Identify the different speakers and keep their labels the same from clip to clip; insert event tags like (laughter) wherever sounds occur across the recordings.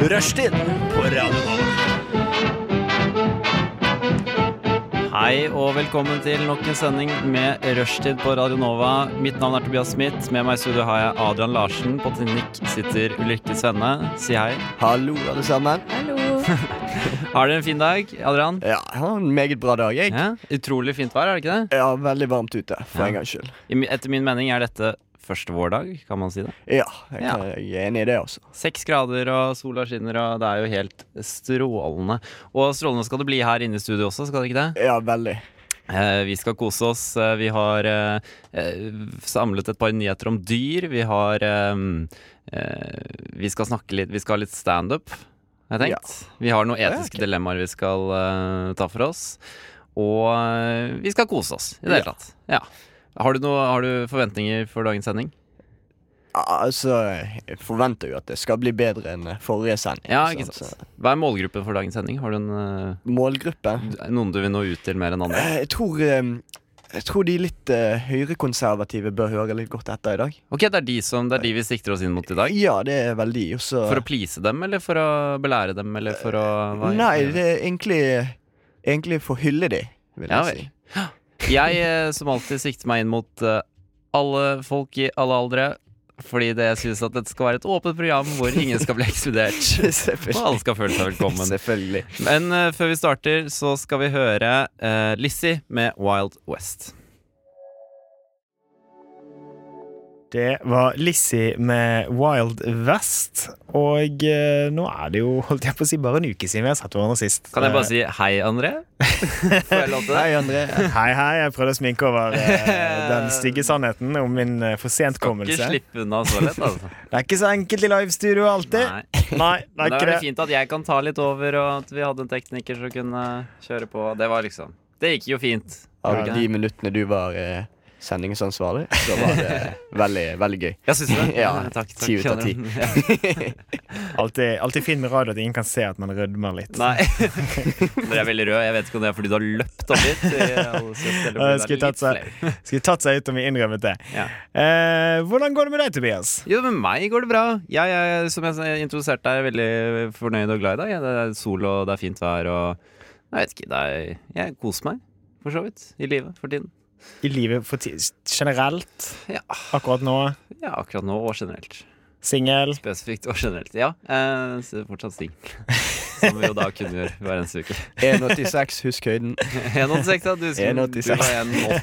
Speaker 1: Rushtid på Radio Nova.
Speaker 2: Hei og velkommen til nok en sending med Rushtid på Radio Nova. Mitt navn er Tobias Smith. Med meg i studio har jeg Adrian Larsen. På teknikk sitter Ulrikke Svenne. Si hei.
Speaker 1: Hallo, alle sammen.
Speaker 3: Hallo.
Speaker 2: Har dere en fin dag, Adrian?
Speaker 1: Ja, jeg har en meget bra dag, jeg.
Speaker 2: Ja, utrolig fint vær, er det ikke det?
Speaker 1: Ja, veldig varmt ute, for
Speaker 2: Ja.
Speaker 1: en gangs skyld.
Speaker 2: I mi- Etter min mening er dette første vårdag, kan man si det.
Speaker 1: Ja, jeg,
Speaker 2: Ja.
Speaker 1: kan- jeg er enig i det, altså.
Speaker 2: Seks grader og sola skinner, og det er jo helt strålende. Og strålende skal det bli her inne i studio også, skal det ikke det?
Speaker 1: Ja, veldig.
Speaker 2: Eh, Vi skal kose oss. Eh, Vi har eh, eh, samlet et par nyheter om dyr. Vi har eh, eh, Vi skal snakke litt Vi skal ha litt standup, har jeg tenkt. Vi har noen etiske
Speaker 1: ok.
Speaker 2: dilemmaer vi skal eh, ta for oss. Og eh, vi skal kose oss i det hele
Speaker 1: Ja.
Speaker 2: tatt. Ja. Har, du noe, har du forventninger for dagens sending?
Speaker 1: Ja, altså, jeg forventer jo at det skal bli bedre enn eh, forrige sending.
Speaker 2: Ja, ikke
Speaker 1: sant,
Speaker 2: sant. Hva er målgruppen for dagens sending? Har du en, eh,
Speaker 1: så- Målgruppe?
Speaker 2: noen du vil nå ut til mer enn andre?
Speaker 1: Eh, Jeg tror, eh, jeg tror de litt eh, høyrekonservative bør høre litt godt etter i dag.
Speaker 2: Ok, det er de, som, det er de vi sikter oss inn mot i dag.
Speaker 1: Ja, det er vel de. Og så Eh,
Speaker 2: For å please dem, eller for å belære dem, eller for å hva-
Speaker 1: Nei, det er egentlig, egentlig for å hylle de, vil
Speaker 2: Ja
Speaker 1: jeg
Speaker 2: vel.
Speaker 1: si.
Speaker 2: Jeg eh, som alltid sikter meg inn mot eh, alle folk i alle aldre. Fordi det jeg synes at dette skal være et åpent program hvor ingen skal
Speaker 1: (laughs)
Speaker 2: bli ekskludert. Og alle skal føle seg velkommen.
Speaker 1: Selvfølgelig.
Speaker 2: Men eh, før vi starter, så skal vi høre eh, Lizzie med Wild West.
Speaker 4: Det var Lizzie med Wild West. Og eh, nå er det jo holdt jeg på å si, bare en uke siden vi har sett hverandre sist.
Speaker 2: Kan jeg bare si hei, André?
Speaker 1: (laughs)
Speaker 2: Får jeg lov til det?
Speaker 1: Eh. Hei, André.
Speaker 4: Eh, (laughs) Hei, hei. Jeg prøvde å sminke over
Speaker 2: (laughs)
Speaker 4: eh, den stygge sannheten om min eh,
Speaker 2: Ikke
Speaker 4: forsentkommelse.
Speaker 2: slippe unna så lett, altså.
Speaker 4: Det er ikke så enkelt i livestudio alltid.
Speaker 2: Nei.
Speaker 4: Nei,
Speaker 2: Men det
Speaker 4: det er ikke
Speaker 2: er
Speaker 4: det.
Speaker 2: det fint at jeg kan ta litt over, og at vi hadde en tekniker som kunne kjøre på. Det var liksom Det gikk jo fint.
Speaker 1: Av
Speaker 2: Gjorde det ikke
Speaker 1: de
Speaker 2: det?
Speaker 1: minuttene du var eh, sendingsansvarlig, så var det
Speaker 2: (laughs)
Speaker 1: veldig, veldig gøy.
Speaker 2: Ja, syns du det?
Speaker 1: (laughs) Ja,
Speaker 2: takk, takk.
Speaker 1: ti ut av ti.
Speaker 2: (laughs) Ja.
Speaker 4: Alltid, alltid fint med radio at ingen kan se at man rødmer litt.
Speaker 2: Nei. (laughs) Dere er veldig røde. Jeg vet ikke om det er fordi du har løpt opp dit. eh,
Speaker 4: Ja, skulle tatt seg, skulle tatt seg ut om vi innrømmet det.
Speaker 2: Ja.
Speaker 4: Eh, hvordan går det med deg, Tobias?
Speaker 2: Jo, med meg går det bra. Jeg er, som jeg s- introduserte deg, er veldig fornøyd og glad i dag. Jeg- Det er sol, og det er fint vær, og jeg vet ikke, det er, jeg koser meg, for så vidt, i livet for tiden.
Speaker 4: I livet for ti generelt?
Speaker 2: Ja.
Speaker 4: Akkurat nå?
Speaker 2: Ja, akkurat nå og generelt.
Speaker 4: Singel?
Speaker 2: Spesifikt og generelt. Ja, eh, så fortsatt sting. (laughs) Som vi jo da kunne gjøre hver eneste uke. (laughs)
Speaker 1: 1,86, husk (laughs) høyden.
Speaker 2: 1,86, ja. Du, skulle- du
Speaker 1: 1,86.
Speaker 2: var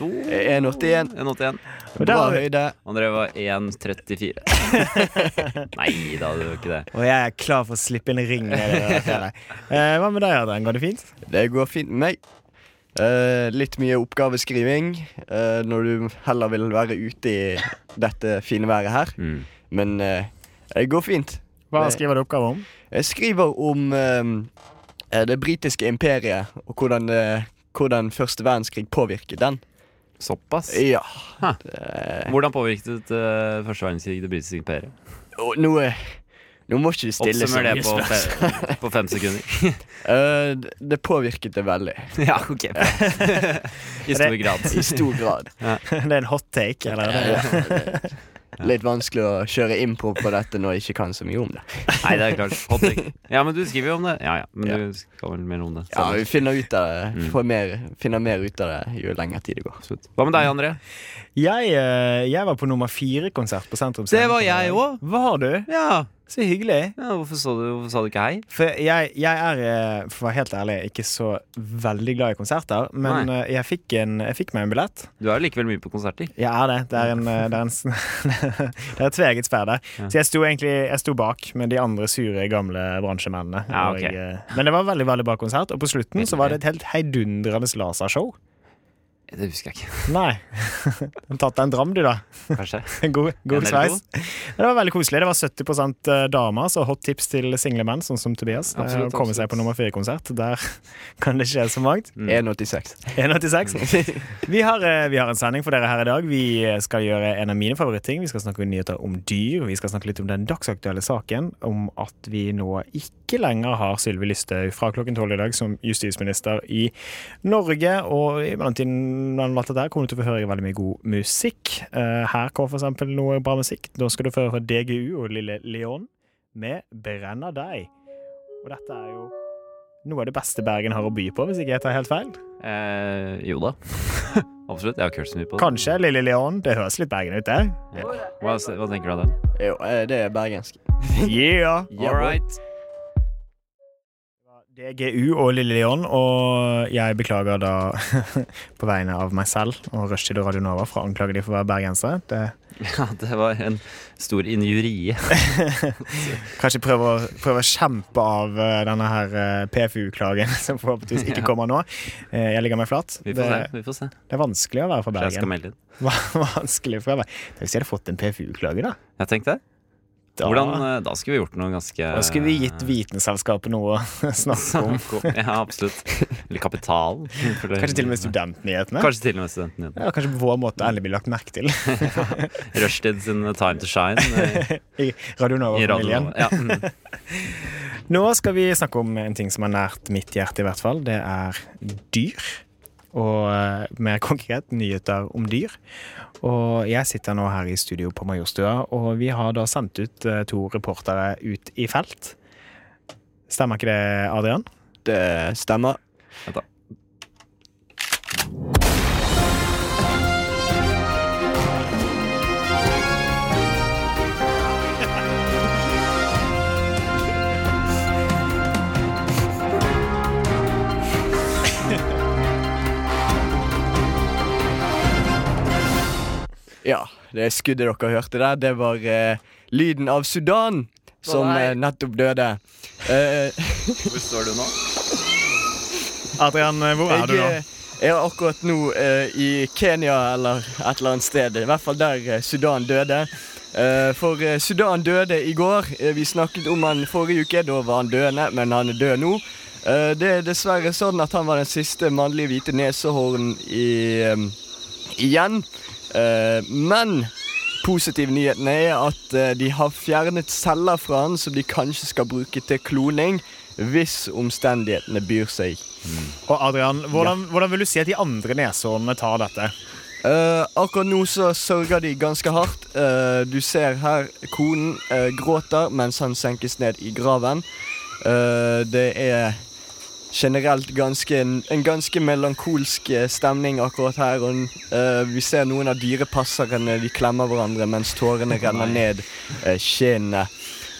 Speaker 2: 1,82.
Speaker 1: 1,81.
Speaker 2: 1,81.
Speaker 4: Og
Speaker 1: Bra
Speaker 4: der-
Speaker 1: høyde.
Speaker 2: André
Speaker 1: (laughs)
Speaker 2: var 1,34. Nei da, det var ikke det.
Speaker 4: Og jeg er klar for å slippe inn ring. ned i
Speaker 2: (laughs)
Speaker 4: det fjellet. Eh, hva med deg, Adrian? Går det fint?
Speaker 1: Det går fint med meg. Eh, litt mye oppgaveskriving eh, når du heller vil være ute i dette fine været her.
Speaker 2: Mm.
Speaker 1: Men eh, det går fint.
Speaker 4: Hva
Speaker 1: Det-
Speaker 4: skriver du oppgave om?
Speaker 1: Jeg skriver om eh, det britiske imperiet og hvordan, eh, hvordan første verdenskrig påvirket den.
Speaker 2: Såpass.
Speaker 1: Ja.
Speaker 2: Hæ.
Speaker 1: Det-
Speaker 2: Hvordan påvirket eh, første verdenskrig det britiske imperiet?
Speaker 1: og nå, eh, nå må ikke du stille
Speaker 2: Oppsummer det på,
Speaker 1: spørsmål.
Speaker 2: fe på fem sekunder. (laughs)
Speaker 1: Eh, det- det påvirket det veldig.
Speaker 2: ja, ok.
Speaker 1: (laughs)
Speaker 2: I stor grad.
Speaker 1: I stor
Speaker 2: (laughs)
Speaker 1: grad.
Speaker 4: (laughs) Det er en hot take, eller? er
Speaker 1: Ja,
Speaker 4: Det?
Speaker 1: det er litt vanskelig å kjøre impro på dette når jeg ikke kan så mye om det.
Speaker 2: Nei, det er klart. Hot take. Ja, men du skriver jo om det. Ja, ja. Men
Speaker 1: Ja.
Speaker 2: du skal vel mer om det.
Speaker 1: Ja,
Speaker 2: senere.
Speaker 1: vi finner ut av det.
Speaker 2: Mm.
Speaker 1: Får mer, finner mer ut av det jo lenger tid det går.
Speaker 2: Absolutt. Hva med deg, André?
Speaker 4: Jeg, eh, jeg var på nummer fire-konsert på Sentrum. Scene
Speaker 2: Det var
Speaker 4: på
Speaker 2: jeg
Speaker 4: lørdag.
Speaker 2: også.
Speaker 4: Var du?
Speaker 2: Ja,
Speaker 4: Så hyggelig.
Speaker 2: ja hvorfor, så du, hvorfor sa du ikke hei?
Speaker 4: For jeg, jeg er, eh, for å være helt ærlig, ikke så veldig glad i konserter. Men eh, jeg fikk, en, jeg fikk meg en billett.
Speaker 2: Du er jo likevel mye på konserter.
Speaker 4: Jeg er det. Det er, en, eh, det er, en, s- (laughs) det er et tveegget sverd der.
Speaker 2: Ja.
Speaker 4: Så jeg sto egentlig jeg sto bak med de andre sure, gamle bransjemennene.
Speaker 2: Ja, ok.
Speaker 4: og, eh, men det var en veldig veldig bra konsert, og på slutten så var det et helt heidundrende lasershow.
Speaker 2: Det husker jeg ikke.
Speaker 4: Nei. (laughs) Tatt deg en dram, du, da.
Speaker 2: (laughs)
Speaker 4: (laughs)
Speaker 2: Kanskje.
Speaker 4: God,
Speaker 2: En
Speaker 4: god
Speaker 2: eller
Speaker 4: sveis. Men Det var veldig koselig. Det var 70 damer, så hot tips til single menn, sånn som Tobias. Det er
Speaker 2: Absolutt,
Speaker 4: å komme seg
Speaker 2: absolutt.
Speaker 4: på nummer fire-konsert. Der (laughs) kan det skje så mangt.
Speaker 2: Mm.
Speaker 1: 1,86.
Speaker 4: 186. Vi har, eh, vi har en sending for dere her i dag. Vi eh, skal gjøre en av mine favorittting. Vi skal snakke nyheter om dyr. Vi skal snakke litt om den dagsaktuelle saken om at vi nå ikke lenger har Sylvi Lysthaug fra klokken tolv i dag som justisminister i Norge. Og i mellomtiden mellom alt dette her kommer du til å få høre veldig mye god musikk. Eh, Her kommer f.eks. noe bra musikk. Nå skal du få høre fra DGU og Lille Leon med 'Brenner deg'. Og dette er jo noe av det beste Bergen har å by på, hvis ikke jeg tar helt feil.
Speaker 2: Eh, jo (laughs) da. Absolutt. Jeg har ikke hørt så mye på det.
Speaker 4: Kanskje Lille Leon. Det høres litt Bergen ut, det.
Speaker 2: Hva, hva tenker du av det?
Speaker 1: Jo, eh, det er bergensk.
Speaker 4: Yeah!
Speaker 1: Ja,
Speaker 2: All right.
Speaker 4: DGU og Lille Leon, og jeg beklager da (laughs) på vegne av meg selv og Rushtid og Radio Nova for å anklage de for å være bergensere. Det,
Speaker 2: (laughs)
Speaker 4: (laughs)
Speaker 2: Ja, det var en stor injurie.
Speaker 4: kanskje prøve å, prøve å kjempe av eh, denne her eh, PFU-klagen (laughs) som forhåpentligvis ikke kommer nå. Eh, Jeg ligger meg flat.
Speaker 2: Vi
Speaker 4: Det,
Speaker 2: får se. vi får se
Speaker 4: det er vanskelig å være fra
Speaker 2: Kanskje Jeg skal
Speaker 4: (laughs) Bergen.
Speaker 2: melde inn.
Speaker 4: Vanskelig fra Bergen. Tenk hvis jeg hadde fått en PFU-klage, da.
Speaker 2: Jeg tenkte det.
Speaker 4: Da-
Speaker 2: Hvordan, eh, da skulle vi gjort noe ganske
Speaker 4: Da skulle vi
Speaker 2: (laughs)
Speaker 4: gitt Vitenselskapet noe å (laughs) snakke om.
Speaker 2: Ja, absolutt. Eller Kapitalen. (laughs) for det-
Speaker 4: Kanskje til og med studentnyhetene.
Speaker 2: Kanskje til og med studenten din.
Speaker 4: Ja, kanskje på vår måte endelig blir lagt merke til (laughs)
Speaker 2: Rushtid sin Time to Shine
Speaker 4: (laughs)
Speaker 2: eh,
Speaker 4: i
Speaker 2: i
Speaker 4: Radio
Speaker 2: Radio
Speaker 4: Nova-familien.
Speaker 2: Nova. Ja. mm.
Speaker 4: Nå skal vi snakke om en ting som er nært mitt hjerte, i hvert fall. Det er dyr. Og eh, mer konkret nyheter om dyr. Og jeg sitter nå her i studio på Majorstua, og vi har da sendt ut eh, to reportere ut i felt. Stemmer ikke det, Adrian?
Speaker 1: Det stemmer.
Speaker 2: Vent da.
Speaker 1: (laughs) Ja, det skuddet dere hørte der, det var eh, lyden av Sudan, som
Speaker 2: nei.
Speaker 1: eh, nettopp døde. Eh,
Speaker 2: Hvor står du nå?
Speaker 4: Adrian, hvor er du nå?
Speaker 1: jeg eh, er akkurat nå eh, i Kenya eller et eller annet sted. I hvert fall der eh, Sudan døde. Eh, for eh, Sudan døde i går. Eh, vi snakket om han forrige uke. Da var han døende, men han er død nå. Eh, det er dessverre sånn at han var den siste mannlige hvite nesehorn i, eh, igjen. Eh, men positive nyheten er at eh, de har fjernet celler fra han som de kanskje skal bruke til kloning hvis omstendighetene byr seg.
Speaker 4: Og Adrian, hvordan, hvordan vil du si at de andre neshornene tar dette?
Speaker 1: Eh, akkurat nå så sørger de ganske hardt. Eh, du ser her konen eh, gråter mens han senkes ned i graven. Eh, det er generelt ganske, en ganske melankolsk eh, stemning akkurat her. Og, eh, vi ser noen av dyrepasserne de klemmer hverandre mens tårene renner ned uh, kinnene.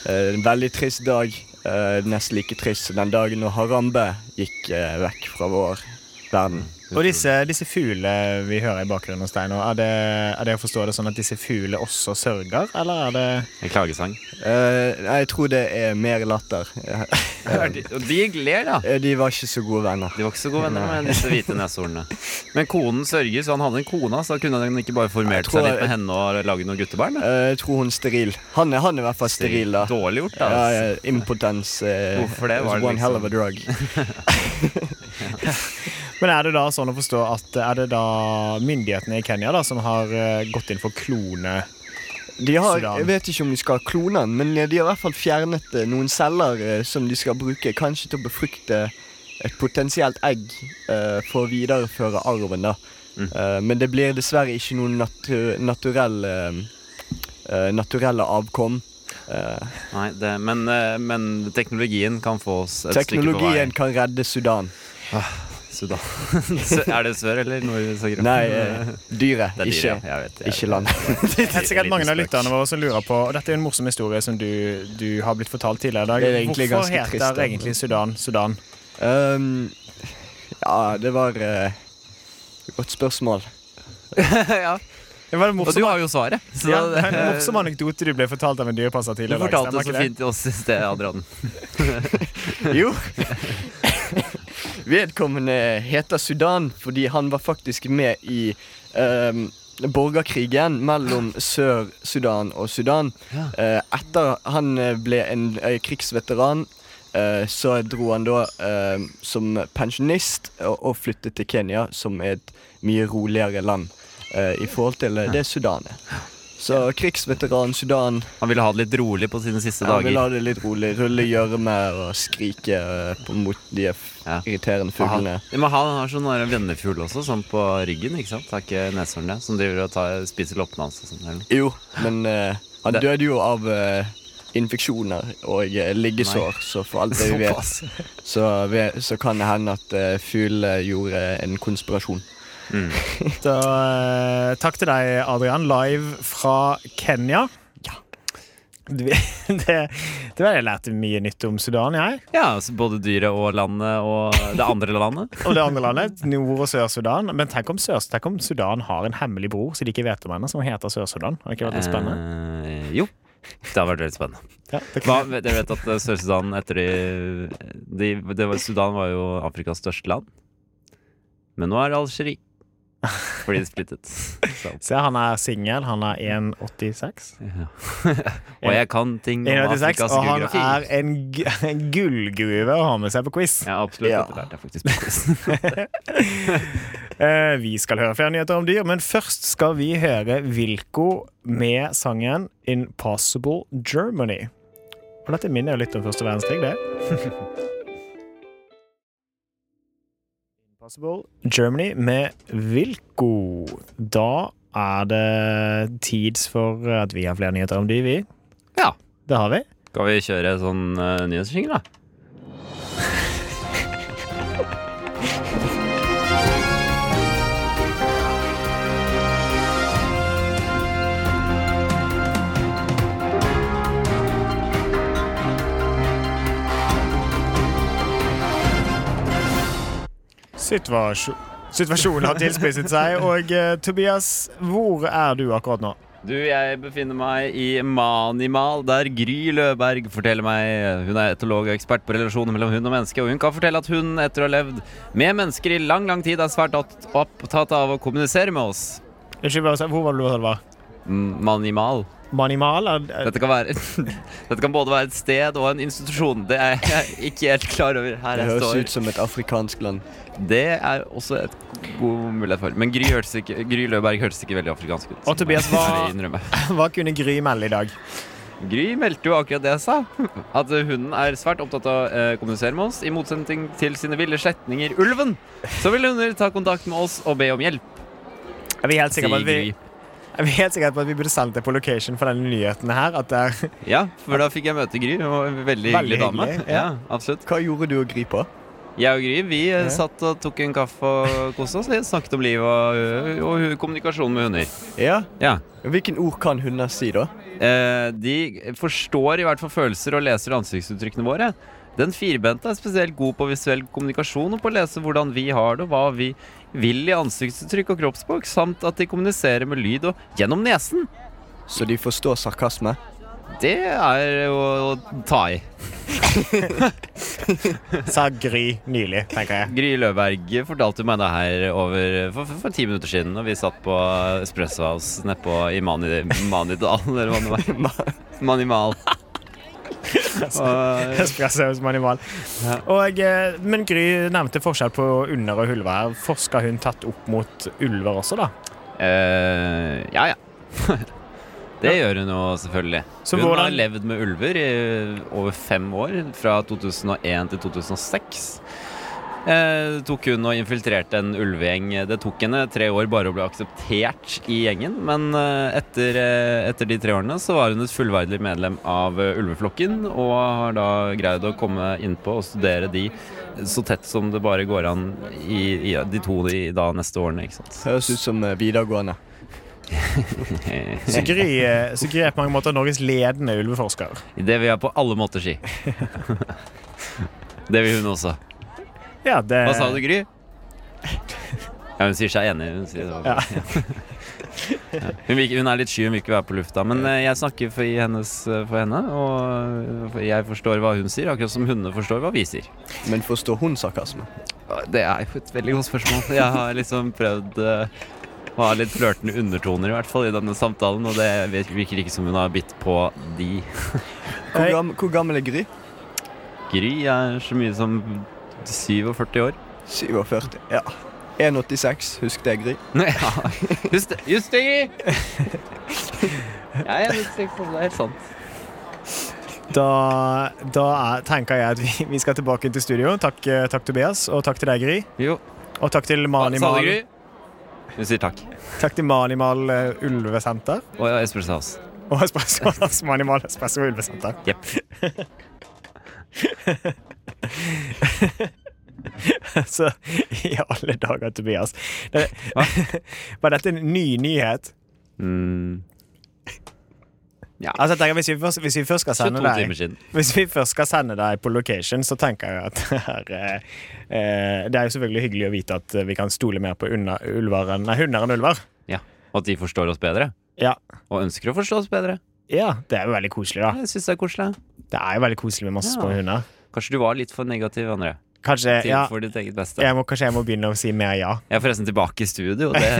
Speaker 1: Eh, en veldig trist dag. eh, nesten like trist som den dagen når Harambe gikk eh, vekk fra vår verden.
Speaker 4: Og disse, disse fuglene vi hører i bakgrunnen hos deg nå, er det, er det å forstå det sånn at disse fuglene også sørger, eller er det
Speaker 2: En klagesang.
Speaker 1: Eh, nei, jeg tror det er mer latter. Eh,
Speaker 2: Og de ler, ja.
Speaker 1: eh, De var ikke så gode venner.
Speaker 2: De var ikke så gode venner med disse hvite neshornene. Men konen sørger, så han hadde en kone. Så da kunne han ikke bare formert
Speaker 1: Jeg tror
Speaker 2: seg litt
Speaker 1: jeg-
Speaker 2: med henne og lage noen guttebarn? da?
Speaker 1: Eh, jeg tror hun er steril. Han er, han er i hvert fall steril, da.
Speaker 2: Dårlig gjort, da.
Speaker 1: Ja,
Speaker 2: altså.
Speaker 1: ja, impotens eh,
Speaker 2: Hvorfor det?
Speaker 1: is
Speaker 2: Var det
Speaker 1: one hell of a
Speaker 2: liksom-
Speaker 1: drug.
Speaker 4: Men er det da sånn å forstå at er det da myndighetene i Kenya da som har eh, gått inn for klone?
Speaker 1: De har,
Speaker 4: Sudan.
Speaker 1: jeg vet ikke om de skal klone han, men eh, de har i hvert fall fjernet eh, noen celler eh, som de skal bruke kanskje til å befrukte et potensielt egg eh, for å videreføre arven. da.
Speaker 2: Mm.
Speaker 1: Eh, men det blir dessverre ikke noen natu naturell, eh, eh, naturelle avkom. Eh,
Speaker 2: Nei, det, men, eh, men teknologien kan få oss et
Speaker 1: Teknologien
Speaker 2: stykke
Speaker 1: kan redde Sudan.
Speaker 2: på vei. (laughs) Sudan. Sø- er det sør eller nord? Zagreb?
Speaker 1: Nei, eh, dyret.
Speaker 2: (laughs) det er
Speaker 1: Ikke,
Speaker 2: dyre. Jeg vet, jeg
Speaker 1: ikke
Speaker 2: vet.
Speaker 1: land.
Speaker 4: Det er sikkert mange
Speaker 2: Liten
Speaker 4: av
Speaker 2: spøk.
Speaker 4: lytterne våre som lurer på, og dette er jo en morsom historie som du, du har blitt fortalt tidligere i dag.
Speaker 1: Det er egentlig ganske
Speaker 4: Hvorfor heter
Speaker 1: trist, da.
Speaker 4: egentlig Sudan Sudan?
Speaker 1: Um, ja, det var eh, Godt spørsmål.
Speaker 2: (laughs) ja.
Speaker 4: Det var en
Speaker 2: Og du
Speaker 4: morsom,
Speaker 2: har jo svaret.
Speaker 4: (laughs)
Speaker 2: Så
Speaker 4: ja,
Speaker 2: det-
Speaker 4: en
Speaker 2: (laughs)
Speaker 4: morsom anekdote du ble fortalt av en dyrepasser
Speaker 2: du
Speaker 4: tidligere. i dag,
Speaker 2: fortalte
Speaker 4: stemmer
Speaker 2: det så
Speaker 4: ikke det?
Speaker 2: fint til oss i sted, Adrian.
Speaker 1: Jo. Vedkommende heter Sudan fordi han var faktisk med i um, borgerkrigen mellom Sør-Sudan og Sudan.
Speaker 2: Ja.
Speaker 1: Eh, etter han eh, ble en eh, krigsveteran, eh, så dro han da eh, som pensjonist og, og flyttet til Kenya, som er et mye roligere land eh, i forhold til eh, det Sudan er. Så krigsveteran Sudan
Speaker 2: Han ville ha det litt rolig på sine siste
Speaker 1: han vil ha
Speaker 2: dager.
Speaker 1: det litt rolig. Rulle gjørme og skrike eh, på- mot de f-
Speaker 2: Ja.
Speaker 1: irriterende
Speaker 2: Han,
Speaker 1: fuglene.
Speaker 2: men han har sånn der vennefugl også, sånn på ryggen. ikke sant? Har ikke neshornet. Som driver og tar, spiser loppene hans og sånn. eller noe.
Speaker 1: Jo, men eh, han
Speaker 2: Det-
Speaker 1: døde jo av eh, infeksjoner og eh, liggesår, så for
Speaker 2: (laughs)
Speaker 1: alt det vi vet,
Speaker 2: Såpass.
Speaker 1: så, ve- så kan det hende at eh, fuglene gjorde en konspirasjon.
Speaker 4: Så eh, takk til deg, Adrian, live fra Kenya. Du- (laughs) Det, det var Jeg lærte mye nytt om Sudan, jeg.
Speaker 2: Ja, så både dyret og landet og det andre landet.
Speaker 4: Og det andre landet, Nord- og Sør-Sudan. Men tenk om, Sør tenk om Sudan har en hemmelig bror som de ikke vet om ennå, som heter Sør-Sudan. Har det ikke vært litt spennende?
Speaker 2: (laughs) Eh, jo. Det har vært veldig spennende.
Speaker 4: Ja, det
Speaker 2: Hva, vet- dere vet at eh, Sør-Sudan etter de, de det var, Sudan var jo Afrikas største land. Men nå er det Algerie. Fordi de splittet. Så,
Speaker 4: Se, han er singel. Han er 1,86.
Speaker 2: ja. (laughs) og jeg kan ting om
Speaker 4: 1,86,
Speaker 2: Afrikas
Speaker 4: Og han
Speaker 2: geografi.
Speaker 4: er en, gu- en gullgruve å ha med seg på quiz.
Speaker 2: Ja, absolutt.
Speaker 1: Ja.
Speaker 2: Dette lærte jeg faktisk på quiz.
Speaker 4: (laughs) Eh, vi skal høre flere nyheter om dyr, men først skal vi høre Wilco med sangen 'Impossible Germany'. Og dette minner jo litt om første verdenskrig, det. (laughs) Impossible Germany med Wilco. Da er det tids for at vi har flere nyheter om dyr, vi.
Speaker 2: Ja.
Speaker 4: Det har vi.
Speaker 2: Skal vi kjøre sånn uh, nyhetsjingle, da?
Speaker 4: Situasjon- Situasjonen har tilspisset seg, og eh, Tobias, hvor er du akkurat nå?
Speaker 2: Du, jeg befinner meg i Manimal, der Gry Løberg forteller meg eh, Hun er etolog og ekspert på relasjoner mellom hund og menneske, og hun kan fortelle at hun, etter å ha levd med mennesker i lang, lang tid, er svært opp- opptatt av å kommunisere med oss.
Speaker 4: Unnskyld, hva sa- hvor var det du sa det var?
Speaker 2: Mm, Manimal.
Speaker 4: Manimal? Er, er,
Speaker 2: Dette kan, være, (laughs) dette kan både være et sted og en institusjon. Det er jeg ikke helt klar over her
Speaker 1: Det
Speaker 2: jeg
Speaker 1: høres ut
Speaker 2: står.
Speaker 1: som et afrikansk land.
Speaker 2: Det er også et god mulighet for Men Gry, hørtes ikke, Gry Løberg hørtes ikke veldig afrikansk ut.
Speaker 4: Og Tobias,
Speaker 2: må jeg
Speaker 4: hva-
Speaker 2: ærlig innrømme.
Speaker 4: Hva kunne Gry melde i dag?
Speaker 2: Gry meldte jo akkurat det jeg sa. (laughs) At hunden er svært opptatt av å eh, kommunisere med oss. I motsetning til sine ville slektninger ulven, så vil hunder ta kontakt med oss og be om hjelp.
Speaker 4: Er vi helt sikre på
Speaker 2: Sier
Speaker 4: at vi,
Speaker 2: Gry.
Speaker 4: er vi, helt sikre på at vi burde sendt det på location for denne nyheten her? At det er (laughs)
Speaker 2: Ja, for da fikk jeg møte Gry. Hun var en veldig hyggelig
Speaker 4: Veldig
Speaker 2: dame.
Speaker 4: hyggelig,
Speaker 2: Ja,
Speaker 4: ja.
Speaker 2: absolutt.
Speaker 1: Hva gjorde du og Gry på?
Speaker 2: Jeg og Gry vi eh,
Speaker 4: Ja.
Speaker 2: satt og tok en kaffe og koste oss. Vi snakket om liv og, eh, og hu- kommunikasjon med hunder.
Speaker 1: Ja,
Speaker 2: Ja.
Speaker 1: Hvilken ord kan hunder si, da?
Speaker 2: Eh, de forstår i hvert fall følelser og leser ansiktsuttrykkene våre. Den firbente er spesielt god på visuell kommunikasjon og på å lese hvordan vi har det og hva vi vil i ansiktsuttrykk og kroppsspråk, samt at de kommuniserer med lyd og gjennom nesen.
Speaker 1: Så de forstår sarkasme? (laughs)
Speaker 2: Det er å, å ta i.
Speaker 4: Sa Gry nylig, tenker
Speaker 2: (laughs)
Speaker 4: jeg.
Speaker 2: Gry Løberg fortalte meg det her over, for, for, for ti minutter siden, og vi satt på Espresso House nedpå i Mani, Manidal, eller hva det var. Manimal. Og,
Speaker 4: Espresso hos Manimal.
Speaker 2: Ja.
Speaker 4: Og, eh, men Gry nevnte forskjell på under og ulver her. Forsker hun tett opp mot ulver også, da?
Speaker 2: Eh, ja, ja. (laughs) det gjør hun jo selvfølgelig.
Speaker 4: Så
Speaker 2: hun har
Speaker 4: hvordan-
Speaker 2: levd med ulver i over fem år, fra 2001 til 2006. Eh, tok hun og infiltrerte en ulvegjeng. Det tok henne tre år bare å bli akseptert i gjengen. Men eh, etter, eh, etter de tre årene så var hun et fullverdig medlem av eh, ulveflokken. Og har da greid å komme innpå og studere de så tett som det bare går an i, i de to de, da neste årene. Ikke sant?
Speaker 1: Høres ut som eh, videregående.
Speaker 2: (laughs)
Speaker 4: Så Gry, eh, så Gry er på mange måter Norges ledende ulveforsker.
Speaker 2: Det vil jeg på alle måter
Speaker 4: (laughs)
Speaker 2: si. det vil hun også.
Speaker 4: Ja, det,
Speaker 2: Hva sa du, Gry? Eh. (laughs) Ja, hun sier seg enig. Hun, sier det.
Speaker 4: Ja.
Speaker 2: Ja. Hun, vil, ikke- hun er litt sky, hun vil ikke være på lufta. Men eh, jeg snakker for, i hennes, eh, for henne, og eh, for jeg forstår hva hun sier, akkurat som hundene forstår hva vi sier.
Speaker 1: Men forstår hun sarkasme?
Speaker 2: Det er jo et veldig godt spørsmål. Jeg har liksom prøvd eh, å ha litt flørtende undertoner i hvert fall i denne samtalen, og det virker ikke som hun har bitt på de.
Speaker 1: Hvor,
Speaker 4: Hei.
Speaker 1: gam, hvor gammel er Gry?
Speaker 2: Gry er så mye som 47 år.
Speaker 1: 47. Ja. 1,86. Husk det, Gry.
Speaker 2: Nei, Ja. Just det, just det, Gry! Jeg er litt sikker på det, er helt sant.
Speaker 4: Da, da er, tenker jeg at vi, vi skal tilbake til studio. Takk, eh, takk Tobias, og takk til deg, Gry.
Speaker 2: Jo.
Speaker 4: Og takk til
Speaker 2: Sa
Speaker 4: Manimal.
Speaker 2: du Gry? Hun sier takk.
Speaker 4: Takk til Manimal eh, Ulvesenter
Speaker 2: Og jeg Espresso House.
Speaker 4: og og espresso (laughs) som animal espresso ulvesenter.
Speaker 2: Jepp.
Speaker 4: (laughs) Så i alle dager, Tobias. Det, (laughs) var dette en ny nyhet?
Speaker 2: Mm. Ja.
Speaker 4: Altså, jeg tenker, hvis, vi først, hvis vi først skal sende
Speaker 2: 22 timer
Speaker 4: deg
Speaker 2: siden.
Speaker 4: Hvis vi først skal sende deg på location, så tenker jeg at det er, eh, eh, det er jo selvfølgelig hyggelig å vite at eh, vi kan stole mer på unna, ulver enn, nei, hunder enn ulver.
Speaker 2: Ja. Og at de forstår oss bedre.
Speaker 4: Ja.
Speaker 2: Og ønsker å forstå oss bedre.
Speaker 4: ja, det er jo veldig koselig, da.
Speaker 2: Jeg syns det er koselig.
Speaker 4: Det er jo veldig koselig med masse
Speaker 2: Ja.
Speaker 4: små hunder.
Speaker 2: Kanskje du var litt for negativ, André.
Speaker 4: Kanskje,
Speaker 2: Til
Speaker 4: ja,
Speaker 2: for ditt eget beste.
Speaker 4: jeg må, kanskje jeg må begynne å si mer ja.
Speaker 2: Jeg er forresten tilbake i
Speaker 4: (laughs)
Speaker 2: studio. Det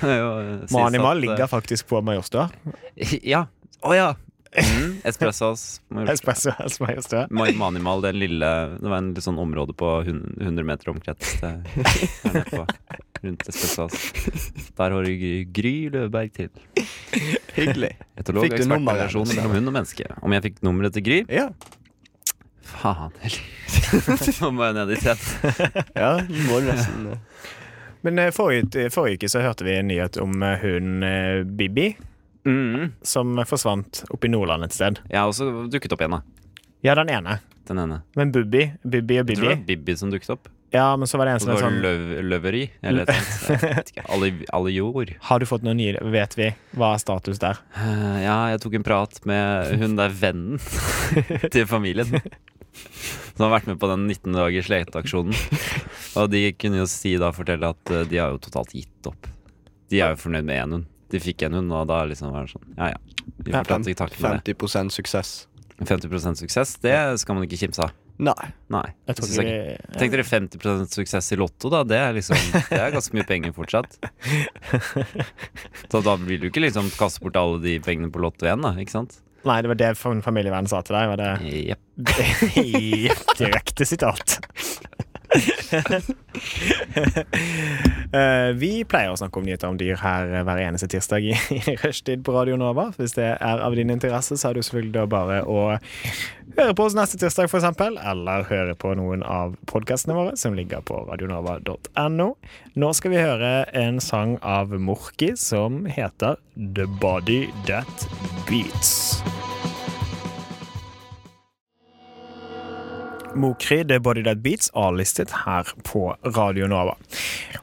Speaker 2: må jo sies at,
Speaker 4: Manimal
Speaker 2: eh,
Speaker 4: ligger faktisk på Majorstua.
Speaker 2: Ja. Å ja. Mm. Espressos.
Speaker 4: (laughs) Espresso House Majorstua.
Speaker 2: Ma- Manimal, den lille Det var en litt sånn område på hun- 100 meter omkrets eh, her nede på, rundt Espressos. Der hører Gry, Gry Løvberg til.
Speaker 1: Hyggelig.
Speaker 2: Etolog
Speaker 1: Fikk
Speaker 2: og
Speaker 1: du nummeret
Speaker 2: ekspertrelasjon
Speaker 1: hennes, da?
Speaker 2: mellom hund og menneske. Om jeg fikk nummeret til Gry?
Speaker 1: Ja.
Speaker 2: Faen heller. (laughs) Nå må jeg ned i tett.
Speaker 1: ja du må nesten (laughs) eh.
Speaker 4: Men eh, forrige, forrige uke så hørte vi en nyhet om eh, hunden eh, Bibi,
Speaker 2: Mm.
Speaker 4: som forsvant oppe i Nordland et sted.
Speaker 2: Jeg har også dukket opp igjen, da.
Speaker 4: Ja, den ene.
Speaker 2: Den ene.
Speaker 4: Men Bubbi, Bubbi og
Speaker 2: Jeg tror det
Speaker 4: Bibi.
Speaker 2: var Bibi som dukket opp.
Speaker 4: Ja, men så var det en
Speaker 2: Og
Speaker 4: som
Speaker 2: så var
Speaker 4: var
Speaker 2: det
Speaker 4: sånn
Speaker 2: løv, løveri. Eller et eller annet. Alle- Alle jord.
Speaker 4: Har du fått noen nye Vet vi hva er status der?
Speaker 2: Eh, Ja, jeg tok en prat med hun der vennen (laughs) til familien. Som har vært med på den 19 dagers leteaksjonen. Og de kunne jo si da fortelle at eh, de har jo totalt gitt opp. De er jo fornøyd med én hund. De fikk en hund, og da liksom var det sånn Ja ja. Vi
Speaker 4: Ja,
Speaker 2: får ta til takke med det.
Speaker 1: 50 suksess.
Speaker 2: 50 suksess, det skal man ikke kimse av.
Speaker 1: Nei.
Speaker 2: Nei.
Speaker 4: Jeg tror
Speaker 2: synes
Speaker 4: ikke
Speaker 2: jeg ikke. Tenk dere 50 suksess i Lotto, da. Det er liksom Det er ganske mye penger fortsatt. Så da vil du ikke liksom kaste bort alle de pengene på Lotto igjen, da. Ikke sant?
Speaker 4: Nei, det var det fa- familievennen sa til deg. Var det
Speaker 2: Jepp.
Speaker 4: I direkte sitat. Eh, vi pleier å snakke om nyheter om dyr her eh, hver eneste tirsdag i, i rushtid på Radio Nova. Hvis det er av din interesse, så er det jo selvfølgelig da bare å høre på oss neste tirsdag, f.eks. Eller høre på noen av podkastene våre som ligger på radionova.no. Nå skal vi høre en sang av Morki som heter The Body That Beats. Mokri, The Body That Beats, A-listet her på Radio Nova.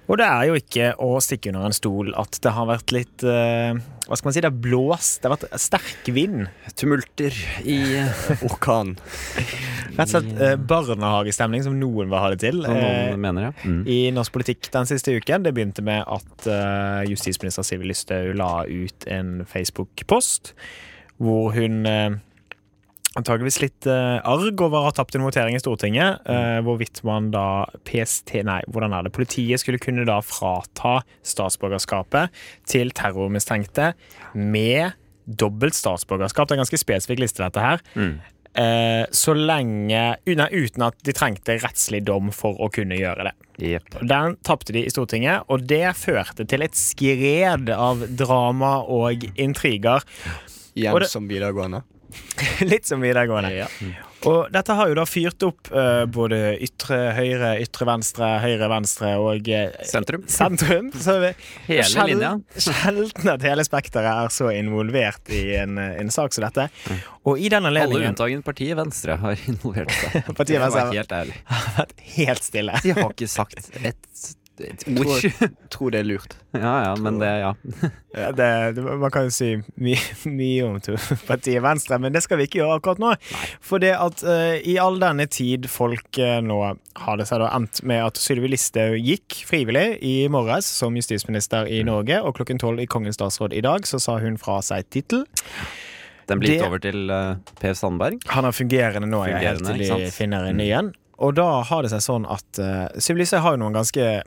Speaker 4: Og det er jo ikke å stikke under en stol at det har vært litt eh, Hva skal man si? Det har blåst. Det har vært sterk vind.
Speaker 2: tumulter i
Speaker 1: (laughs) Orkan.
Speaker 4: Rett og slett eh, barnehagestemning, som noen vil ha det til.
Speaker 2: Som
Speaker 4: eh,
Speaker 2: noen mener, ja. Mm.
Speaker 4: i norsk politikk den siste uken. Det begynte med at eh, justisminister Sivi Lysthaug la ut en Facebook-post hvor hun uh, antageligvis litt eh, arg over å ha tapt en votering i Stortinget,
Speaker 2: Mm.
Speaker 4: eh, hvorvidt man da PST Nei, hvordan er det? Politiet skulle kunne da frata statsborgerskapet til terrormistenkte med dobbelt statsborgerskap. Det er en ganske spesifikk liste, dette her.
Speaker 2: Mm.
Speaker 4: Eh, så lenge nei, Uten at de trengte rettslig dom for å kunne gjøre det.
Speaker 2: Jepp.
Speaker 4: Den tapte de i Stortinget, og det førte til et skred av drama og intriger. (laughs) Og
Speaker 1: Igjen
Speaker 4: det-
Speaker 1: som videregående.
Speaker 4: Litt som videregående.
Speaker 2: Mm.
Speaker 4: Og dette har jo da fyrt opp eh, både ytre høyre, ytre venstre, høyre venstre og eh,
Speaker 2: (laughs) Sentrum.
Speaker 4: sentrum. Så vi-
Speaker 2: Hele
Speaker 4: sjel-
Speaker 2: linja.
Speaker 4: (laughs) Sjelden at hele spekteret er så involvert i en, eh, en sak som dette. Og i den
Speaker 2: Mm. Alle
Speaker 4: anledningen
Speaker 2: unntagen partiet Venstre har (laughs) involvert seg.
Speaker 4: Partiet
Speaker 2: Jeg må
Speaker 4: Venstre-
Speaker 2: være Helt ærlig.
Speaker 4: vært helt stille.
Speaker 2: De har ikke sagt et, et ord.
Speaker 1: Tror, tror det er lurt.
Speaker 2: (laughs) Ja ja, men det Ja.
Speaker 4: Ja, det, det, man kan jo si mye, (laughs) mye om to- partiet Venstre, men det skal vi ikke gjøre akkurat nå. For det at eh, i all denne tid folk eh, nå har det seg da endt med at Sylvi Listhaug gikk frivillig i morges som justisminister i Norge, og klokken tolv i Kongens statsråd i dag så sa hun fra seg tittel.
Speaker 2: Den blir
Speaker 4: Det-
Speaker 2: gitt over til eh, Per Sandberg.
Speaker 4: Han er fungerende Mm. nå, ja, helt
Speaker 2: Fungerende,
Speaker 4: til
Speaker 2: ikke
Speaker 4: de
Speaker 2: sant?
Speaker 4: finner en ny en. Og da har det seg sånn at uh, Sylvi Listhaug har jo noen ganske,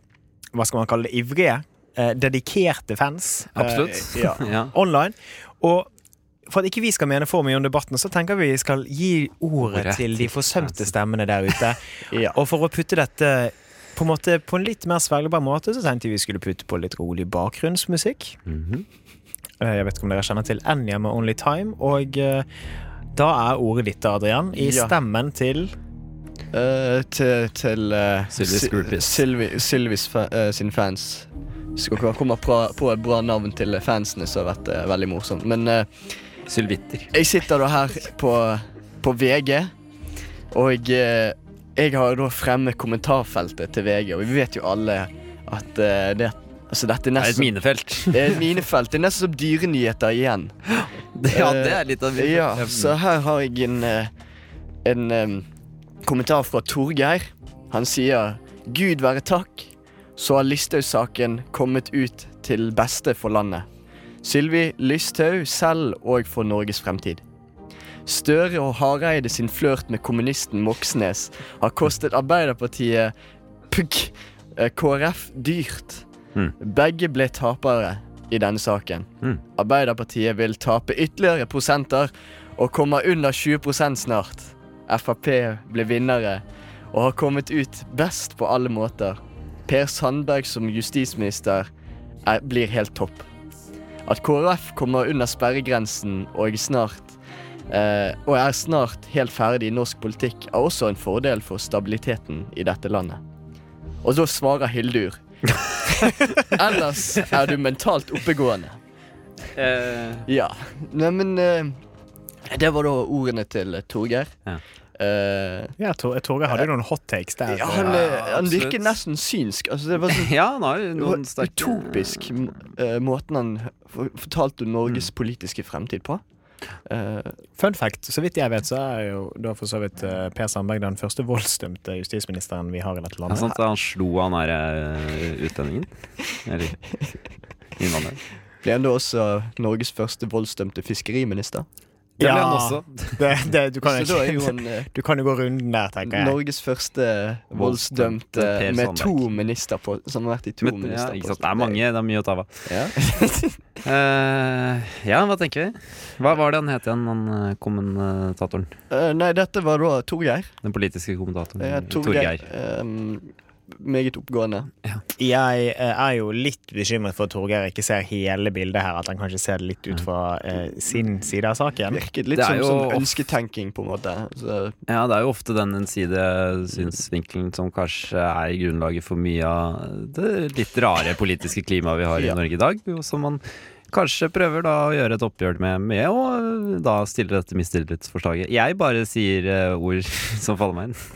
Speaker 4: hva skal man kalle det, ivrige, eh, dedikerte fans. eh,
Speaker 2: Absolutt.
Speaker 4: ja
Speaker 2: (laughs) Ja.
Speaker 4: online. Og for at ikke vi skal mene for mye om debatten, så tenker vi skal gi ordet
Speaker 2: Ordet
Speaker 4: til de
Speaker 2: til
Speaker 1: altså.
Speaker 4: forsømte
Speaker 2: fansen.
Speaker 4: stemmene
Speaker 1: (laughs)
Speaker 4: der ute. Og for å putte dette på en, måte, på en litt mer svelgbar måte, så tenkte vi vi skulle putte på litt rolig bakgrunnsmusikk.
Speaker 2: Mhm.
Speaker 4: Eh, Jeg vet ikke om dere kjenner til Enya med Only Time. Og eh, da er ordet ditt, Adrian, i
Speaker 1: Ja.
Speaker 4: stemmen til
Speaker 1: Eh, til til eh,
Speaker 2: Sylvi
Speaker 1: Sy-
Speaker 2: Screwpiece.
Speaker 1: Sylvi- Sylvis fa eh, sin fans. Skal ikke komme på, på et bra navn til fansene, så har vært eh, veldig morsomt. Men eh,
Speaker 2: Sylvitter.
Speaker 1: Jeg sitter da her på, på VG, og eh, jeg har da fremme kommentarfeltet til VG, og vi vet jo alle at eh, det Altså, dette er
Speaker 2: Det er et
Speaker 1: nesten
Speaker 2: minefelt. (laughs)
Speaker 1: det er et minefelt. Det er nesten som dyrenyheter igjen.
Speaker 2: Ja, det er litt av minefelt.
Speaker 1: Ja, så her har jeg en, eh, en em, kommentar fra Torgeir. Han sier Gud være takk, så har Listhaug-saken kommet ut til beste for landet. Sylvi Lysthaug selv og for Norges fremtid. Støre og Hareide sin flørt med kommunisten Moxnes har kostet Arbeiderpartiet pugg, eh, KrF dyrt.
Speaker 2: Mm.
Speaker 1: Begge ble tapere i denne saken.
Speaker 2: Mm.
Speaker 1: Arbeiderpartiet vil tape ytterligere prosenter og kommer under 20 snart. Frp ble vinnere og har kommet ut best på alle måter. Per Sandberg som justisminister er, blir helt topp. At KrF kommer under sperregrensen og snart eh, og er snart helt ferdig i norsk politikk, er også en fordel for stabiliteten i dette landet. Og så svarer Hildur. Ellers er du mentalt oppegående.
Speaker 2: Eh, (laughs)
Speaker 1: Ja. Neimen eh, Det var da ordene til Torgeir.
Speaker 2: Ja.
Speaker 1: Eh,
Speaker 4: Ja, Tor- Torgeir hadde jo noen hot takes der.
Speaker 1: ja, han, eh, han
Speaker 2: absolutt.
Speaker 1: virker nesten synsk. Altså, det var så
Speaker 2: ja, han har jo (laughs) noen sterke
Speaker 1: utopisk m- eh, måten han for- fortalte om Norges
Speaker 2: Mm.
Speaker 1: politiske fremtid på. Eh,
Speaker 4: Fun fact, så vidt jeg vet, så er jo da for så vidt eh, Per Sandberg den første voldsdømte justisministeren vi har i dette
Speaker 2: Ja,
Speaker 4: landet.
Speaker 1: Altså,
Speaker 2: sant, han slo han her eh, utlendingen. Eller innvandreren.
Speaker 1: ble han da også Norges første voldsdømte fiskeriminister?
Speaker 2: Det ble
Speaker 4: Ja.
Speaker 2: han også.
Speaker 4: Det, det, du, kan
Speaker 1: Så da er jo
Speaker 4: ikke,
Speaker 1: han
Speaker 2: (laughs)
Speaker 1: eh,
Speaker 4: du kan jo gå runden der, tenker jeg.
Speaker 1: Norges første
Speaker 2: Voldsdømte
Speaker 1: voldsdømte
Speaker 2: Per
Speaker 1: med to
Speaker 2: Sandberg.
Speaker 1: minister på, som har vært i to
Speaker 2: Men, ja, ikke sant? Det er mange,
Speaker 1: ministerposter.
Speaker 2: det er mye å ta av.
Speaker 1: Ja.
Speaker 2: Eh, ja, hva tenker vi? Hva var det han het igjen, han eh, kommentatoren?
Speaker 1: Eh, nei, dette var da Torgeir.
Speaker 2: Den politiske kommentatoren?
Speaker 1: Ja, Eh, Torgeir. ehm, meget oppgående.
Speaker 4: Jeg eh, er jo litt bekymret for at Torgeir ikke ser hele bildet her. At han kanskje ser det litt ut fra eh, sin side av saken.
Speaker 1: Virket litt
Speaker 2: Det er
Speaker 1: som
Speaker 2: jo
Speaker 1: sånn
Speaker 2: off-
Speaker 1: ønsketenking, på en måte. Så,
Speaker 2: Ja, det er jo ofte den sidesynsvinkelen som kanskje er grunnlaget for mye av det litt rare politiske klimaet vi har i
Speaker 1: Ja.
Speaker 2: Norge i dag, og som man kanskje prøver da å gjøre et oppgjør med, med og da stille dette mistillitsforslaget. Jeg bare sier eh, ord (laughs) som faller meg inn.
Speaker 1: (laughs)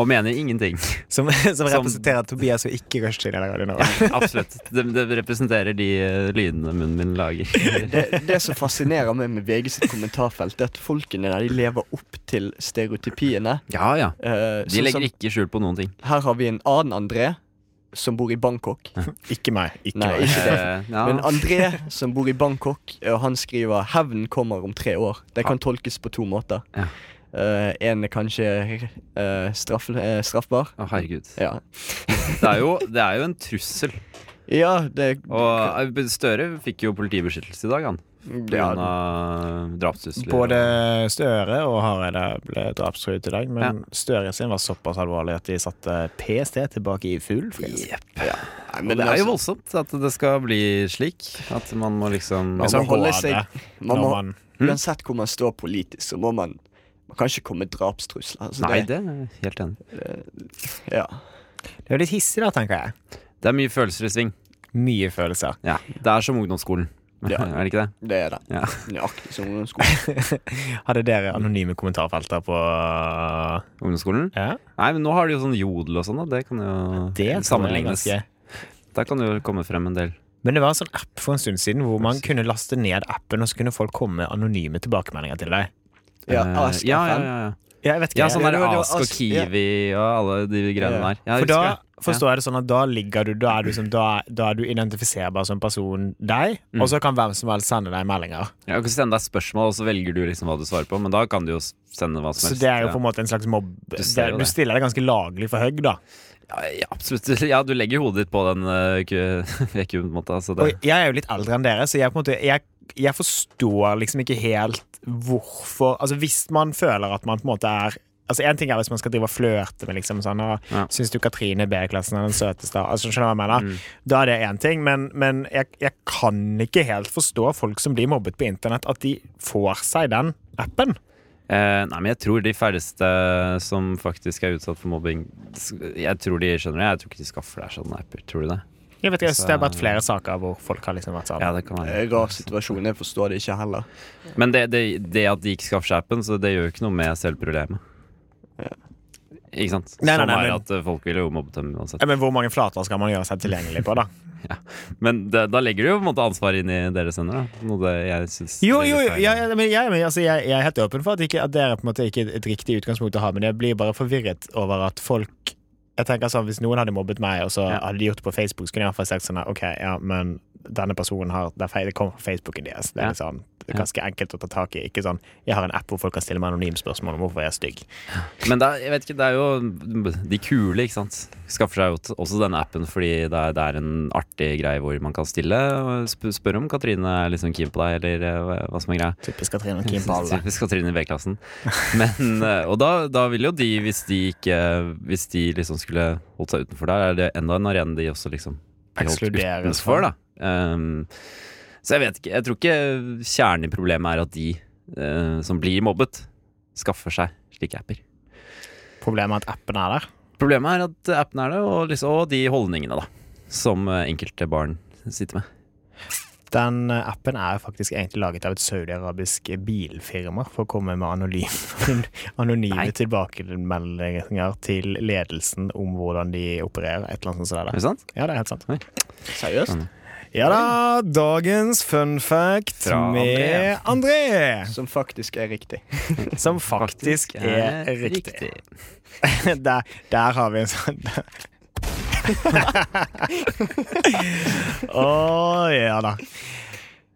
Speaker 2: Og mener ingenting.
Speaker 4: Som, (laughs) som representerer Tobias og ikke rushtid i denne radioen. nå.
Speaker 2: (laughs) Absolutt. Det, det representerer de eh, lydene munnen min lager.
Speaker 1: det, det som fascinerer meg med VG sitt kommentarfelt, er at folkene der de lever opp til stereotypiene.
Speaker 2: Ja, ja.
Speaker 1: Eh,
Speaker 2: De
Speaker 1: sånn som,
Speaker 2: legger ikke skjul på noen ting.
Speaker 1: her har vi en annen André som bor i Bangkok.
Speaker 4: Ikke meg. Ikke
Speaker 1: Nei,
Speaker 4: meg.
Speaker 1: ikke det.
Speaker 2: Eh, ja.
Speaker 1: Men André som bor i Bangkok, og han skriver 'Hevn kommer om tre år'. Det kan tolkes på to måter.
Speaker 2: Ja.
Speaker 1: Eh, en er kanskje eh, straff, eh, straffbar.
Speaker 2: Å, herregud.
Speaker 1: Ja.
Speaker 2: Det er, jo, det er jo en trussel.
Speaker 1: ja, det
Speaker 2: Og eh, Støre fikk jo politibeskyttelse i dag, han. Pga.
Speaker 1: ja,
Speaker 2: drapstrusler.
Speaker 4: Både Støre og Hareide ble drapstruet i dag, men Støre sin var såpass alvorlig at de satte PST tilbake i full frihet.
Speaker 2: Jepp.
Speaker 1: nei,
Speaker 2: Men det er jo voldsomt at det skal bli slik. At man må liksom
Speaker 1: Men
Speaker 4: Og
Speaker 1: så- altså,
Speaker 4: så
Speaker 1: man holder
Speaker 4: går
Speaker 1: seg-
Speaker 4: det
Speaker 1: man
Speaker 4: når
Speaker 1: må,
Speaker 4: man
Speaker 1: Uansett
Speaker 2: Hmm?
Speaker 1: hvor man står politisk, så må man man kan ikke komme med drapstrusler. Altså
Speaker 2: Nei,
Speaker 1: det,
Speaker 2: det er jeg helt enig.
Speaker 1: ja.
Speaker 4: Det er jo litt hissig da, tenker jeg.
Speaker 2: Det er mye følelser i sving.
Speaker 4: Mye følelser.
Speaker 2: Ja. Det er som ungdomsskolen. (laughs)
Speaker 1: Ja.
Speaker 2: er det ikke det?
Speaker 1: det er det.
Speaker 2: Ja.
Speaker 1: Nøyaktig som
Speaker 2: (laughs)
Speaker 1: ungdomsskolen.
Speaker 4: Hadde dere anonyme kommentarfelter eh, på
Speaker 2: Ungdomsskolen?
Speaker 4: ja?
Speaker 2: Nei, men nå har de jo sånn jodel og sånn, da. Det kan jo
Speaker 4: Det er
Speaker 2: sammenlignes.
Speaker 4: ganske-
Speaker 2: Der kan det jo komme frem en del.
Speaker 4: Men det var en sånn app for en stund siden hvor man kunne laste ned appen, og så kunne folk komme med anonyme tilbakemeldinger til deg.
Speaker 1: Ja,
Speaker 2: Eh,
Speaker 1: Ask
Speaker 2: ja, ja,
Speaker 1: FN.
Speaker 2: ja, ja.
Speaker 4: Ja, jeg vet
Speaker 2: ja, sånn
Speaker 1: Ja,
Speaker 2: der
Speaker 1: det var- det var
Speaker 2: Ask og
Speaker 1: Ask, ja.
Speaker 2: Kiwi og alle de
Speaker 1: Ja.
Speaker 2: greiene der. Ja, jeg
Speaker 4: For da
Speaker 2: husker det.
Speaker 4: forstår jeg det sånn at da ligger du Da er du, som, da, da er du identifiserbar som person deg,
Speaker 2: Mm.
Speaker 4: og så kan hvem som helst sende deg meldinger.
Speaker 2: Jeg kan sende deg spørsmål, og så velger du liksom hva du svarer på. Men da kan du jo s- sende hva som
Speaker 4: Så
Speaker 2: helst.
Speaker 4: det er jo
Speaker 2: Ja.
Speaker 4: på en måte en slags mobb... Du,
Speaker 2: ser jo
Speaker 4: du
Speaker 2: det.
Speaker 4: stiller deg ganske laglig for høgg, da.
Speaker 2: ja, ja, absolutt. (laughs) Ja, du legger hodet ditt på den eh, (laughs) vekkemåten. Så altså, det
Speaker 4: Og jeg er jo litt eldre enn dere, så jeg, på en måte, jeg, jeg forstår liksom ikke helt hvorfor Altså hvis man føler at man på en måte er Altså En ting er hvis man skal drive og flørte med liksom sånn og,
Speaker 2: Ja.
Speaker 4: Syns du Katrine i B-klassen er den søteste? Altså Skjønner du hva jeg
Speaker 2: Mm.
Speaker 4: mener? Da er det én ting, men, men jeg, jeg kan ikke helt forstå folk som blir mobbet på internett, at de får seg den appen.
Speaker 2: eh, Nei, men jeg tror de færreste som faktisk er utsatt for mobbing s- Jeg tror de skjønner det. Jeg tror ikke de skaffer deg sånne apper. Tror du det?
Speaker 4: Jeg vet ikke, jeg synes Det har
Speaker 2: Så-
Speaker 4: vært flere saker hvor folk har liksom vært sammen.
Speaker 2: Ja, det kan være.
Speaker 1: Eh, Rar situasjon. Jeg forstår det ikke heller.
Speaker 2: Men det, det, det at de ikke skaffer seg appen, så det gjør jo ikke noe med selve problemet. Ikke sant?
Speaker 4: Nei, nei,
Speaker 2: Som
Speaker 4: nei,
Speaker 2: er
Speaker 4: men-
Speaker 2: at eh, folk vil jo mobbe dem uansett.
Speaker 4: Ja, men hvor mange flater skal man gjøre seg tilgjengelig på, da?
Speaker 2: Men det, da legger du jo på en måte ansvaret inn i deres hender, da. Noe det jeg syns
Speaker 4: Jo, jo, jo ja, ja, men jeg, men, altså, jeg, jeg er helt åpen for at, ikke, at dere på en måte ikke er et riktig utgangspunkt å ha, men jeg blir bare forvirret over at folk Jeg tenker sånn, Hvis noen hadde mobbet meg, og så
Speaker 2: Ja.
Speaker 4: hadde de gjort det på Facebook, så kunne jeg iallfall sagt sånn her, OK, ja, men denne personen har Det, er feil, det kommer fra Facebooken deres. Det
Speaker 2: Ja.
Speaker 4: er litt sånn det er ganske enkelt å ta tak i. Ikke sånn Jeg har en app hvor folk kan stille meg anonyme spørsmål om hvorfor jeg er stygg.
Speaker 2: Men det er, jeg vet ikke, det er jo de kule, ikke sant. Skaffer seg jo t- også denne appen fordi det er, det er en artig greie hvor man kan stille og sp spørre om Katrine er liksom keen på deg, eller eh, hva- hva som er greia.
Speaker 4: (laughs) Typisk Katrine og Kim på alle.
Speaker 2: Typisk Katrine i B-klassen. Men, (laughs) eh, Og da, da vil jo de, hvis de ikke Hvis de liksom skulle holdt seg utenfor der, er det enda en arena de også liksom blir holdt
Speaker 4: Ekskluderes
Speaker 2: utenfor, da. Um, så jeg vet ikke Jeg tror ikke kjernen i problemet er at de eh, som blir mobbet, skaffer seg slike apper.
Speaker 4: Problemet er at appen er der.
Speaker 2: Problemet er at appen er det, og, liksom, og de holdningene, da. Som eh, enkelte barn sitter med.
Speaker 4: Den eh, appen er jo faktisk egentlig laget av et saudiarabisk bilfirma for å komme med anonyme, (laughs) anonyme
Speaker 2: Nei.
Speaker 4: tilbakemeldinger til ledelsen om hvordan de opererer. Et eller annet sånt som
Speaker 2: Er
Speaker 4: det
Speaker 2: det sant?
Speaker 4: der. Ja, det er helt sant.
Speaker 1: Seriøst?
Speaker 4: Ja da, dagens fun fact
Speaker 2: Fra
Speaker 4: med André,
Speaker 1: Som faktisk er riktig.
Speaker 4: (laughs) som faktisk er riktig. (laughs) Der, der har vi en sånn Å ja da.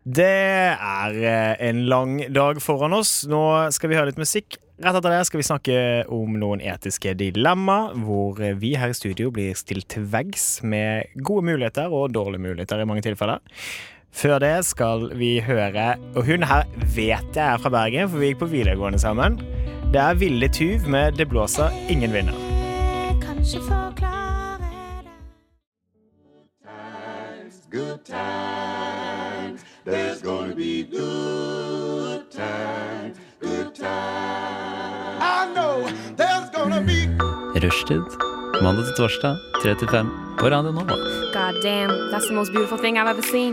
Speaker 4: Det er eh, en lang dag foran oss. Nå skal vi høre litt musikk. Rett etter det skal vi snakke om noen etiske dilemma, hvor eh, vi her i studio blir stilt til veggs med gode muligheter og dårlige muligheter i mange tilfeller. Før det skal vi høre Og hun her vet jeg er fra Bergen, for vi gikk på videregående sammen. Det er Ville Tuv med 'Det blåser ingen vinner'.
Speaker 3: kanskje forklare det.
Speaker 2: Rushtid. Mandag til torsdag, 3 til 5 på Radio Nova.
Speaker 5: God damn, that's the most beautiful thing I've ever seen.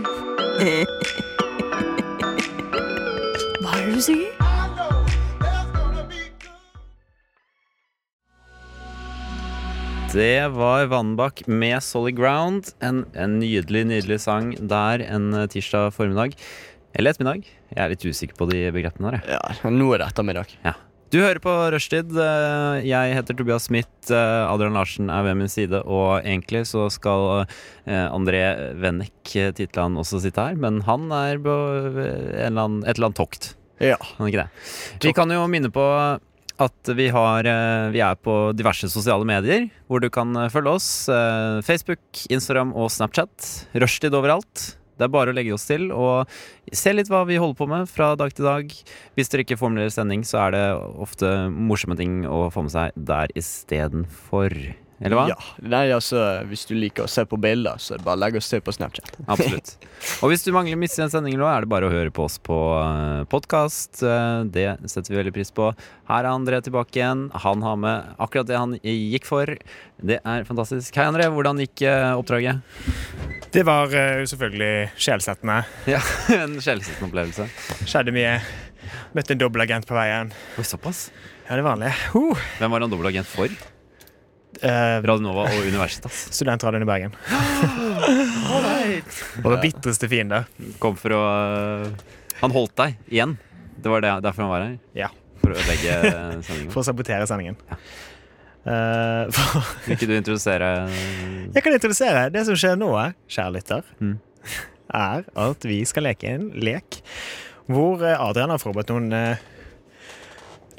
Speaker 5: Hva er det du sier?
Speaker 2: Det var Vannbakk med Solid Ground. En, en nydelig, nydelig sang der en tirsdag formiddag. Eller ettermiddag. Jeg er litt usikker på de begrepene her. jeg.
Speaker 1: Ja, nå er det ettermiddag.
Speaker 2: Ja. Du hører på Rushtid. Eh, Jeg heter Tobias Smith. Eh, Adrian Larsen er ved min side. Og egentlig så skal eh, André Wennek eh, Titland også sitte her, men han er på eh, en eller annen, et eller annet tokt.
Speaker 1: Ja.
Speaker 2: Kan ikke det. Vi kan jo minne på at vi, har, eh, vi er på diverse sosiale medier, hvor du kan eh, følge oss. eh, Facebook, Instagram og Snapchat. Rushtid overalt. Det er bare å legge oss til og se litt hva vi holder på med fra dag til dag. Hvis dere ikke får med dere sending, så er det ofte morsomme ting å få med seg der istedenfor. Eller hva?
Speaker 1: Ja. Nei, altså, hvis du liker å se på bilder, så er det bare å legge oss til på Snapchat.
Speaker 2: (laughs) Absolutt. Og hvis du mangler mister en sending nå, er det bare å høre på oss på eh, podkast. Eh, Det setter vi veldig pris på. Her er André tilbake igjen. Han har med akkurat det han gikk for. Det er fantastisk. Hei, André. Hvordan gikk eh, oppdraget?
Speaker 4: Det var eh, selvfølgelig sjelsettende.
Speaker 2: Ja, (laughs) En sjelsettende opplevelse.
Speaker 4: Skjedde mye. Møtte en dobbeltagent på veien.
Speaker 2: Oi, såpass.
Speaker 4: Ja, det vanlige. Uh.
Speaker 2: Hvem var han dobbeltagent for?
Speaker 4: Eh,
Speaker 2: Radionova og (laughs) Universitas.
Speaker 4: Studentradioen i Bergen. Våre bitreste fiender.
Speaker 2: Kom for å eh, Han holdt deg igjen. Det var det, derfor han var her.
Speaker 4: Ja.
Speaker 2: For å ødelegge eh, sendingen.
Speaker 4: For å sabotere sendingen. Eh, for,
Speaker 2: Vil ikke du introdusere eh,
Speaker 4: jeg kan introdusere. Det som skjer nå, kjære lytter,
Speaker 2: Mm.
Speaker 4: (laughs) er at vi skal leke en lek hvor eh, Adrian har forberedt noen eh,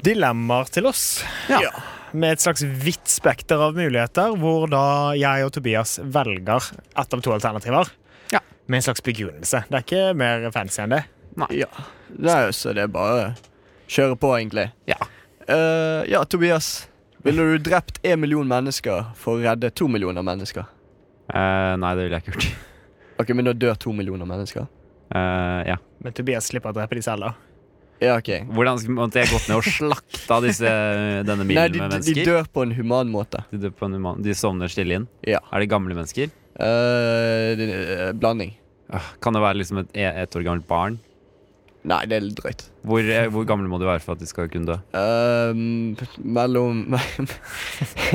Speaker 4: dilemmaer til oss.
Speaker 2: Ja.
Speaker 4: Med et slags vidt spekter av muligheter, hvor da jeg og Tobias velger ett av to alternativer.
Speaker 2: Ja.
Speaker 4: Med en slags begrunnelse. Det er ikke mer fancy enn det.
Speaker 1: Ja. Nei, altså, det er bare å kjøre på, egentlig.
Speaker 2: Ja.
Speaker 1: Eh, ja, Tobias. Ville du drept én million mennesker for å redde to millioner mennesker?
Speaker 2: Eh, nei, det ville jeg ikke gjort.
Speaker 1: Ok, men da dør to millioner mennesker?
Speaker 2: Eh, ja.
Speaker 4: Men Tobias slipper å drepe de selv, da.
Speaker 1: Ja, ok.
Speaker 2: Hvordan sk- måtte jeg gått ned og slakta disse, eh, denne milen
Speaker 1: Nei, de,
Speaker 2: med
Speaker 1: de
Speaker 2: mennesker?
Speaker 1: dør på en human måte.
Speaker 2: De, dør på en human, de sovner stille inn?
Speaker 1: Ja.
Speaker 2: Er det gamle mennesker?
Speaker 1: Eh, det- eh, blanding.
Speaker 2: Ah, Kan det være liksom et ett år gammelt barn?
Speaker 1: Nei, det er litt drøyt.
Speaker 2: Hvor, eh, hvor gammel må du være for at du skal kunne dø?
Speaker 1: Ehm, mellom (laughs)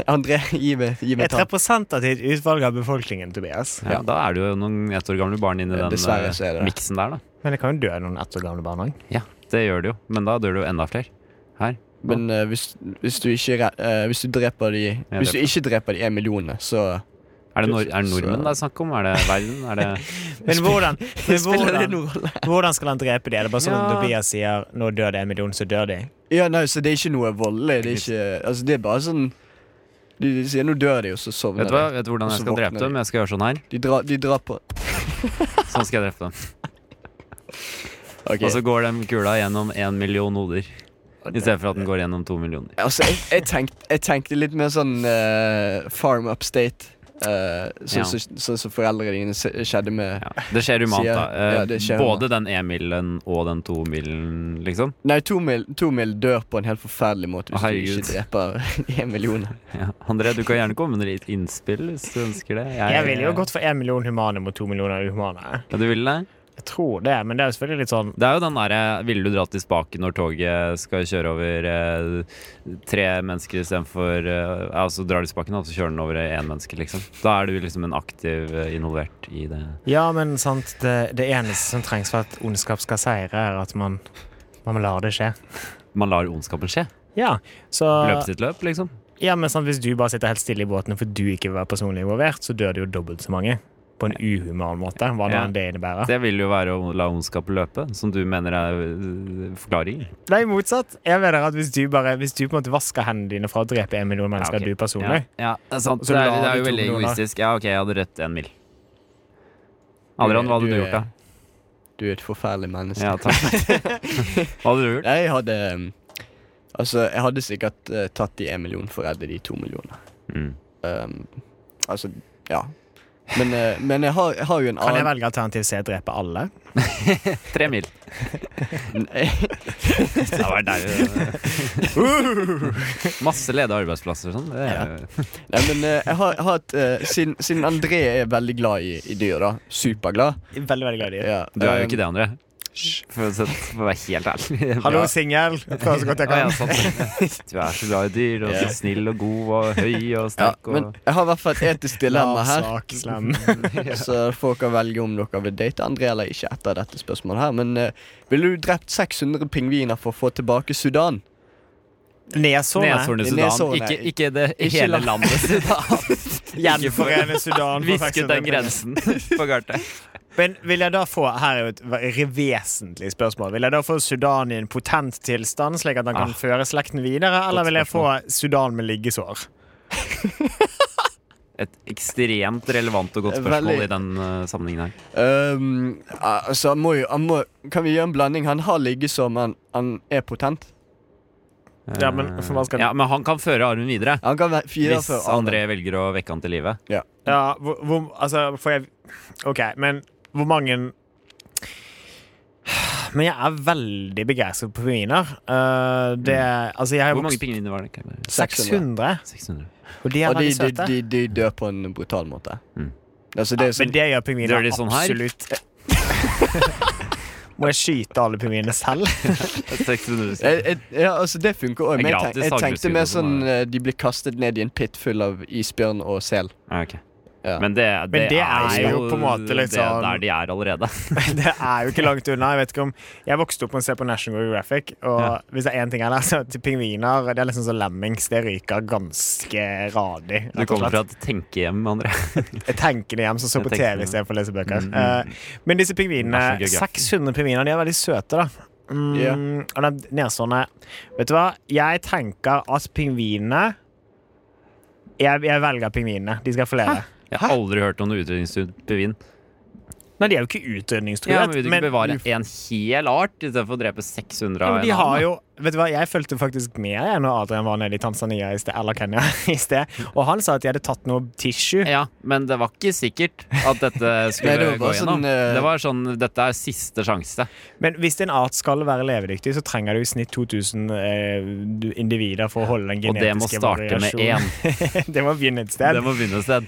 Speaker 1: André, gi meg, gi meg
Speaker 4: Et
Speaker 1: tall.
Speaker 4: representativt utvalg av befolkningen, Tobias.
Speaker 2: Ja,
Speaker 1: Ja.
Speaker 2: Da er det jo noen ett år gamle barn inni
Speaker 1: Eh,
Speaker 2: den
Speaker 1: dessverre
Speaker 2: eh,
Speaker 1: så er det det.
Speaker 2: miksen der, da.
Speaker 4: Men det kan jo dø noen ett år gamle barn òg.
Speaker 2: Ja, det gjør det jo. Men da dør det jo enda flere. Her.
Speaker 1: Men eh, hvis, hvis du ikke re- eh, Hvis du dreper de Hvis du
Speaker 2: dreper.
Speaker 1: ikke dreper de en millionene, så
Speaker 2: Er det, nor er det
Speaker 1: Så-
Speaker 2: nordmenn det er snakk om?
Speaker 1: (laughs)
Speaker 2: Er det verden? Er det
Speaker 4: Men hvordan, (laughs) men
Speaker 1: spiller det
Speaker 4: hvordan,
Speaker 1: noen rolle.
Speaker 4: hvordan skal han drepe dem? Er det bare sånn
Speaker 2: Ja.
Speaker 4: Tobias sier 'nå dør det en million', så dør de?
Speaker 1: Ja, nei, så det er ikke noe voldelig. Det er ikke Altså, det er bare sånn De, de sier 'nå dør de', og så sovner
Speaker 2: Vet du hva?
Speaker 1: de.
Speaker 2: Vet du hvordan
Speaker 1: Og
Speaker 2: jeg
Speaker 1: så
Speaker 2: skal drepe
Speaker 1: våkner de.
Speaker 2: dem? Jeg skal gjøre sånn her.
Speaker 1: De drar, de drar på.
Speaker 2: Sånn skal jeg drepe dem.
Speaker 1: Ok.
Speaker 2: Og så går den kula gjennom én million hoder. I stedet for at den går gjennom to millioner.
Speaker 1: Altså, jeg, jeg, tenkte, jeg tenkte litt mer sånn eh, farm upstate. eh, Sånn
Speaker 2: Ja.
Speaker 1: som så, så foreldrene dine se- skjedde med
Speaker 2: Ja, det skjer humant,
Speaker 1: Sier-
Speaker 2: da. Eh,
Speaker 1: ja, det skjer
Speaker 2: Både den Emilen og den to milen, liksom.
Speaker 1: Nei, Tomil, Tomil dør på en helt forferdelig måte hvis
Speaker 2: Å,
Speaker 1: du ikke dreper (laughs) en million.
Speaker 2: Ja. André, du kan gjerne komme med litt innspill hvis du ønsker det.
Speaker 4: Jeg ville jo gått for én million humane mot to millioner uhumane.
Speaker 2: Ja, du ville det?
Speaker 4: Jeg tror det, men det er jo selvfølgelig litt sånn
Speaker 2: Det er jo den derre Ville du dratt til spaken når toget skal kjøre over eh, tre mennesker istedenfor eh, Ja, så drar du spaken, og så kjører den over én menneske, liksom. Da er du liksom en aktiv eh, involvert i det.
Speaker 4: Ja, men sant, det, det eneste som trengs for at ondskap skal seire, er at man, man lar det skje.
Speaker 2: Man lar ondskapen skje.
Speaker 4: Ja, så
Speaker 2: Løpe sitt løp, liksom.
Speaker 4: ja, men sant, Hvis du bare sitter helt stille i båten for du ikke vil være personlig involvert, så dør det jo dobbelt så mange. På en uhuman måte, hva nå
Speaker 2: Ja.
Speaker 4: enn det innebærer.
Speaker 2: Det vil jo være å la ondskapen løpe, som du mener er eh, forklaring.
Speaker 4: Nei, motsatt. Jeg mener at Hvis du bare, hvis du på en måte vasker hendene dine fra å drepe en million mennesker,
Speaker 2: ok.
Speaker 4: er du personlig.
Speaker 2: Ja, det er sant.
Speaker 4: Og så
Speaker 2: Det er,
Speaker 4: la
Speaker 2: det
Speaker 4: de
Speaker 2: er jo
Speaker 4: to
Speaker 2: veldig
Speaker 4: millioner.
Speaker 2: egoistisk. Ja, OK, jeg hadde rett en mil. Adrian, hva hadde du
Speaker 1: Du-
Speaker 2: gjort, da?
Speaker 1: Du er et forferdelig menneske.
Speaker 2: Ja, takk. Hva hadde du gjort?
Speaker 1: Nei, jeg hadde um, Altså, jeg hadde sikkert eh, tatt de en million for å redde de to millionene.
Speaker 2: Mm.
Speaker 1: Um, altså, ja. Men, eh, men jeg, har, jeg har jo en
Speaker 4: Kan jeg
Speaker 1: annen
Speaker 4: velge alternativ C, drepe alle?
Speaker 2: Tre mil. Det hadde vært deilig. (laughs) Masse ledige arbeidsplasser og sånn. Det er jo
Speaker 1: (laughs) Nei, men eh, jeg har, jeg har et, eh, siden, siden André er veldig glad i, i dyr, da. Superglad.
Speaker 4: Veldig, veldig glad i det.
Speaker 1: Ja,
Speaker 2: Du er jo
Speaker 1: um,
Speaker 2: ikke det, André. For å sett- for å være helt ærlig.
Speaker 4: Hallo,
Speaker 2: Ja.
Speaker 4: singel. Jeg prøver så godt jeg
Speaker 2: Ja, ja, sånn.
Speaker 4: kan.
Speaker 2: sant. Du er så glad i dyr, og
Speaker 1: Ja.
Speaker 2: så snill og god og høy og
Speaker 1: Ja,
Speaker 2: sterk.
Speaker 1: men
Speaker 2: Og...
Speaker 1: jeg har i hvert fall et etisk dilemma
Speaker 4: Lav,
Speaker 1: her. (laughs)
Speaker 4: svak, slem.
Speaker 2: (laughs)
Speaker 1: Så folk kan velge om dere vil date André eller ikke etter dette spørsmålet her. Men eh, ville du drept 600 pingviner for å få tilbake Sudan?
Speaker 4: sånn Neshornet.
Speaker 2: Neshornet
Speaker 1: Nei,
Speaker 2: Sudan.
Speaker 1: neshornet.
Speaker 2: Ikke, ikke det
Speaker 1: Ikke
Speaker 2: hele
Speaker 1: land-
Speaker 2: landet Sudan. Ikke for
Speaker 4: Gjenforene
Speaker 2: (laughs)
Speaker 4: Sudan. for
Speaker 2: Visket
Speaker 4: 600
Speaker 2: den
Speaker 4: penger.
Speaker 2: grensen på kartet.
Speaker 4: Men vil jeg da få her er jo et ve- vesentlig spørsmål Vil jeg da få Sudan i en potent tilstand, slik at han kan
Speaker 2: Ah.
Speaker 4: føre slekten videre, eller
Speaker 2: Godt
Speaker 4: vil jeg få Sudan med liggesår?
Speaker 2: Et ekstremt relevant og godt spørsmål
Speaker 1: Veldig.
Speaker 2: i den eh, sammenhengen her.
Speaker 1: Um, altså, han må jo han må, Kan vi gjøre en blanding? Han har liggesår, men han er potent.
Speaker 4: Ja, men for hva skal-
Speaker 2: Eh, ja, men han kan føre armen videre.
Speaker 1: Han kan være fire
Speaker 2: Hvis
Speaker 1: for
Speaker 2: André velger å vekke han til live.
Speaker 4: Ja, hvor, hvor Altså, får jeg OK, men hvor mange Men jeg er veldig begeistret på pingviner. Eh, det Altså, jeg har
Speaker 2: Mm. Hvor mange
Speaker 4: vokst
Speaker 2: pingviner var det? Kan jeg bare-
Speaker 4: 600,
Speaker 2: 600.
Speaker 4: og de er
Speaker 1: Og de,
Speaker 4: veldig
Speaker 1: de,
Speaker 4: søte.
Speaker 1: de, de dør på en brutal måte.
Speaker 2: Mm.
Speaker 1: Altså, det er
Speaker 4: Men
Speaker 1: sånn
Speaker 4: det gjør
Speaker 2: Gjør
Speaker 4: pingviner
Speaker 2: de sånn her?
Speaker 4: absolutt. (laughs) Må jeg skyte alle pingvinene selv?
Speaker 2: 600
Speaker 1: jeg, jeg, ja, altså Det funker òg.
Speaker 2: Det er
Speaker 1: Men jeg, tenk,
Speaker 2: gratis
Speaker 1: jeg tenkte
Speaker 2: haglskudd
Speaker 1: mer
Speaker 2: og sånn,
Speaker 1: sånn eh, de blir kastet ned i en pit full av isbjørn og sel.
Speaker 2: Ja, ok.
Speaker 1: Ja.
Speaker 2: Men det, det,
Speaker 4: Men det er jo på en måte litt
Speaker 2: det er
Speaker 4: sånn-
Speaker 2: der de er allerede.
Speaker 4: (laughs) Det er jo ikke langt unna. Jeg vet ikke om Jeg vokste opp med å se på National Geographic, og
Speaker 2: Ja.
Speaker 4: hvis det er én ting jeg har lært, så er det at pingviner Det er liksom som lemmings. Det ryker ganske radig. rett
Speaker 2: Du
Speaker 4: og
Speaker 2: kommer
Speaker 4: slett.
Speaker 2: fra et tenkehjem, André.
Speaker 4: Jeg tenker det hjem, så så på
Speaker 2: Jeg tenker
Speaker 4: TV
Speaker 2: det.
Speaker 4: istedenfor å lese bøker.
Speaker 2: Mm.
Speaker 4: Eh, men disse
Speaker 2: National
Speaker 4: pingvinene,
Speaker 2: Geographic.
Speaker 4: 600 pingviner, de er veldig søte, da. Mm,
Speaker 1: Ja.
Speaker 4: Og den nedstående Vet du hva? Jeg tenker at pingvinene jeg, jeg velger pingvinene. De skal få leve.
Speaker 2: Jeg har aldri hørt om noe utrydningsstudie.
Speaker 4: Nei, de er jo ikke utrydningstruet.
Speaker 2: Ja, men vil du ikke
Speaker 4: men-
Speaker 2: bevare en hel art istedenfor å drepe 600
Speaker 4: Ja,
Speaker 2: av
Speaker 4: men de
Speaker 2: en
Speaker 4: har
Speaker 2: annen?
Speaker 4: jo, vet du hva, Jeg fulgte faktisk med jeg, når Adrian var nede i Tanzania i sted, eller Kenya (laughs) i sted. Og han sa at de hadde tatt noe tissue.
Speaker 2: (laughs) Ja, men det var ikke sikkert at dette skulle
Speaker 1: Nei, det var
Speaker 2: gå
Speaker 1: bare
Speaker 2: gjennom.
Speaker 1: sånn, eh,
Speaker 2: Det var sånn Dette er siste sjanse.
Speaker 4: Men hvis en art skal være levedyktig, så trenger du i snitt 2000 eh, du- individer for å holde den
Speaker 2: Og det må
Speaker 4: genetiske (laughs)
Speaker 2: starte med én.
Speaker 4: det må begynne et sted.
Speaker 2: Det må begynne et sted.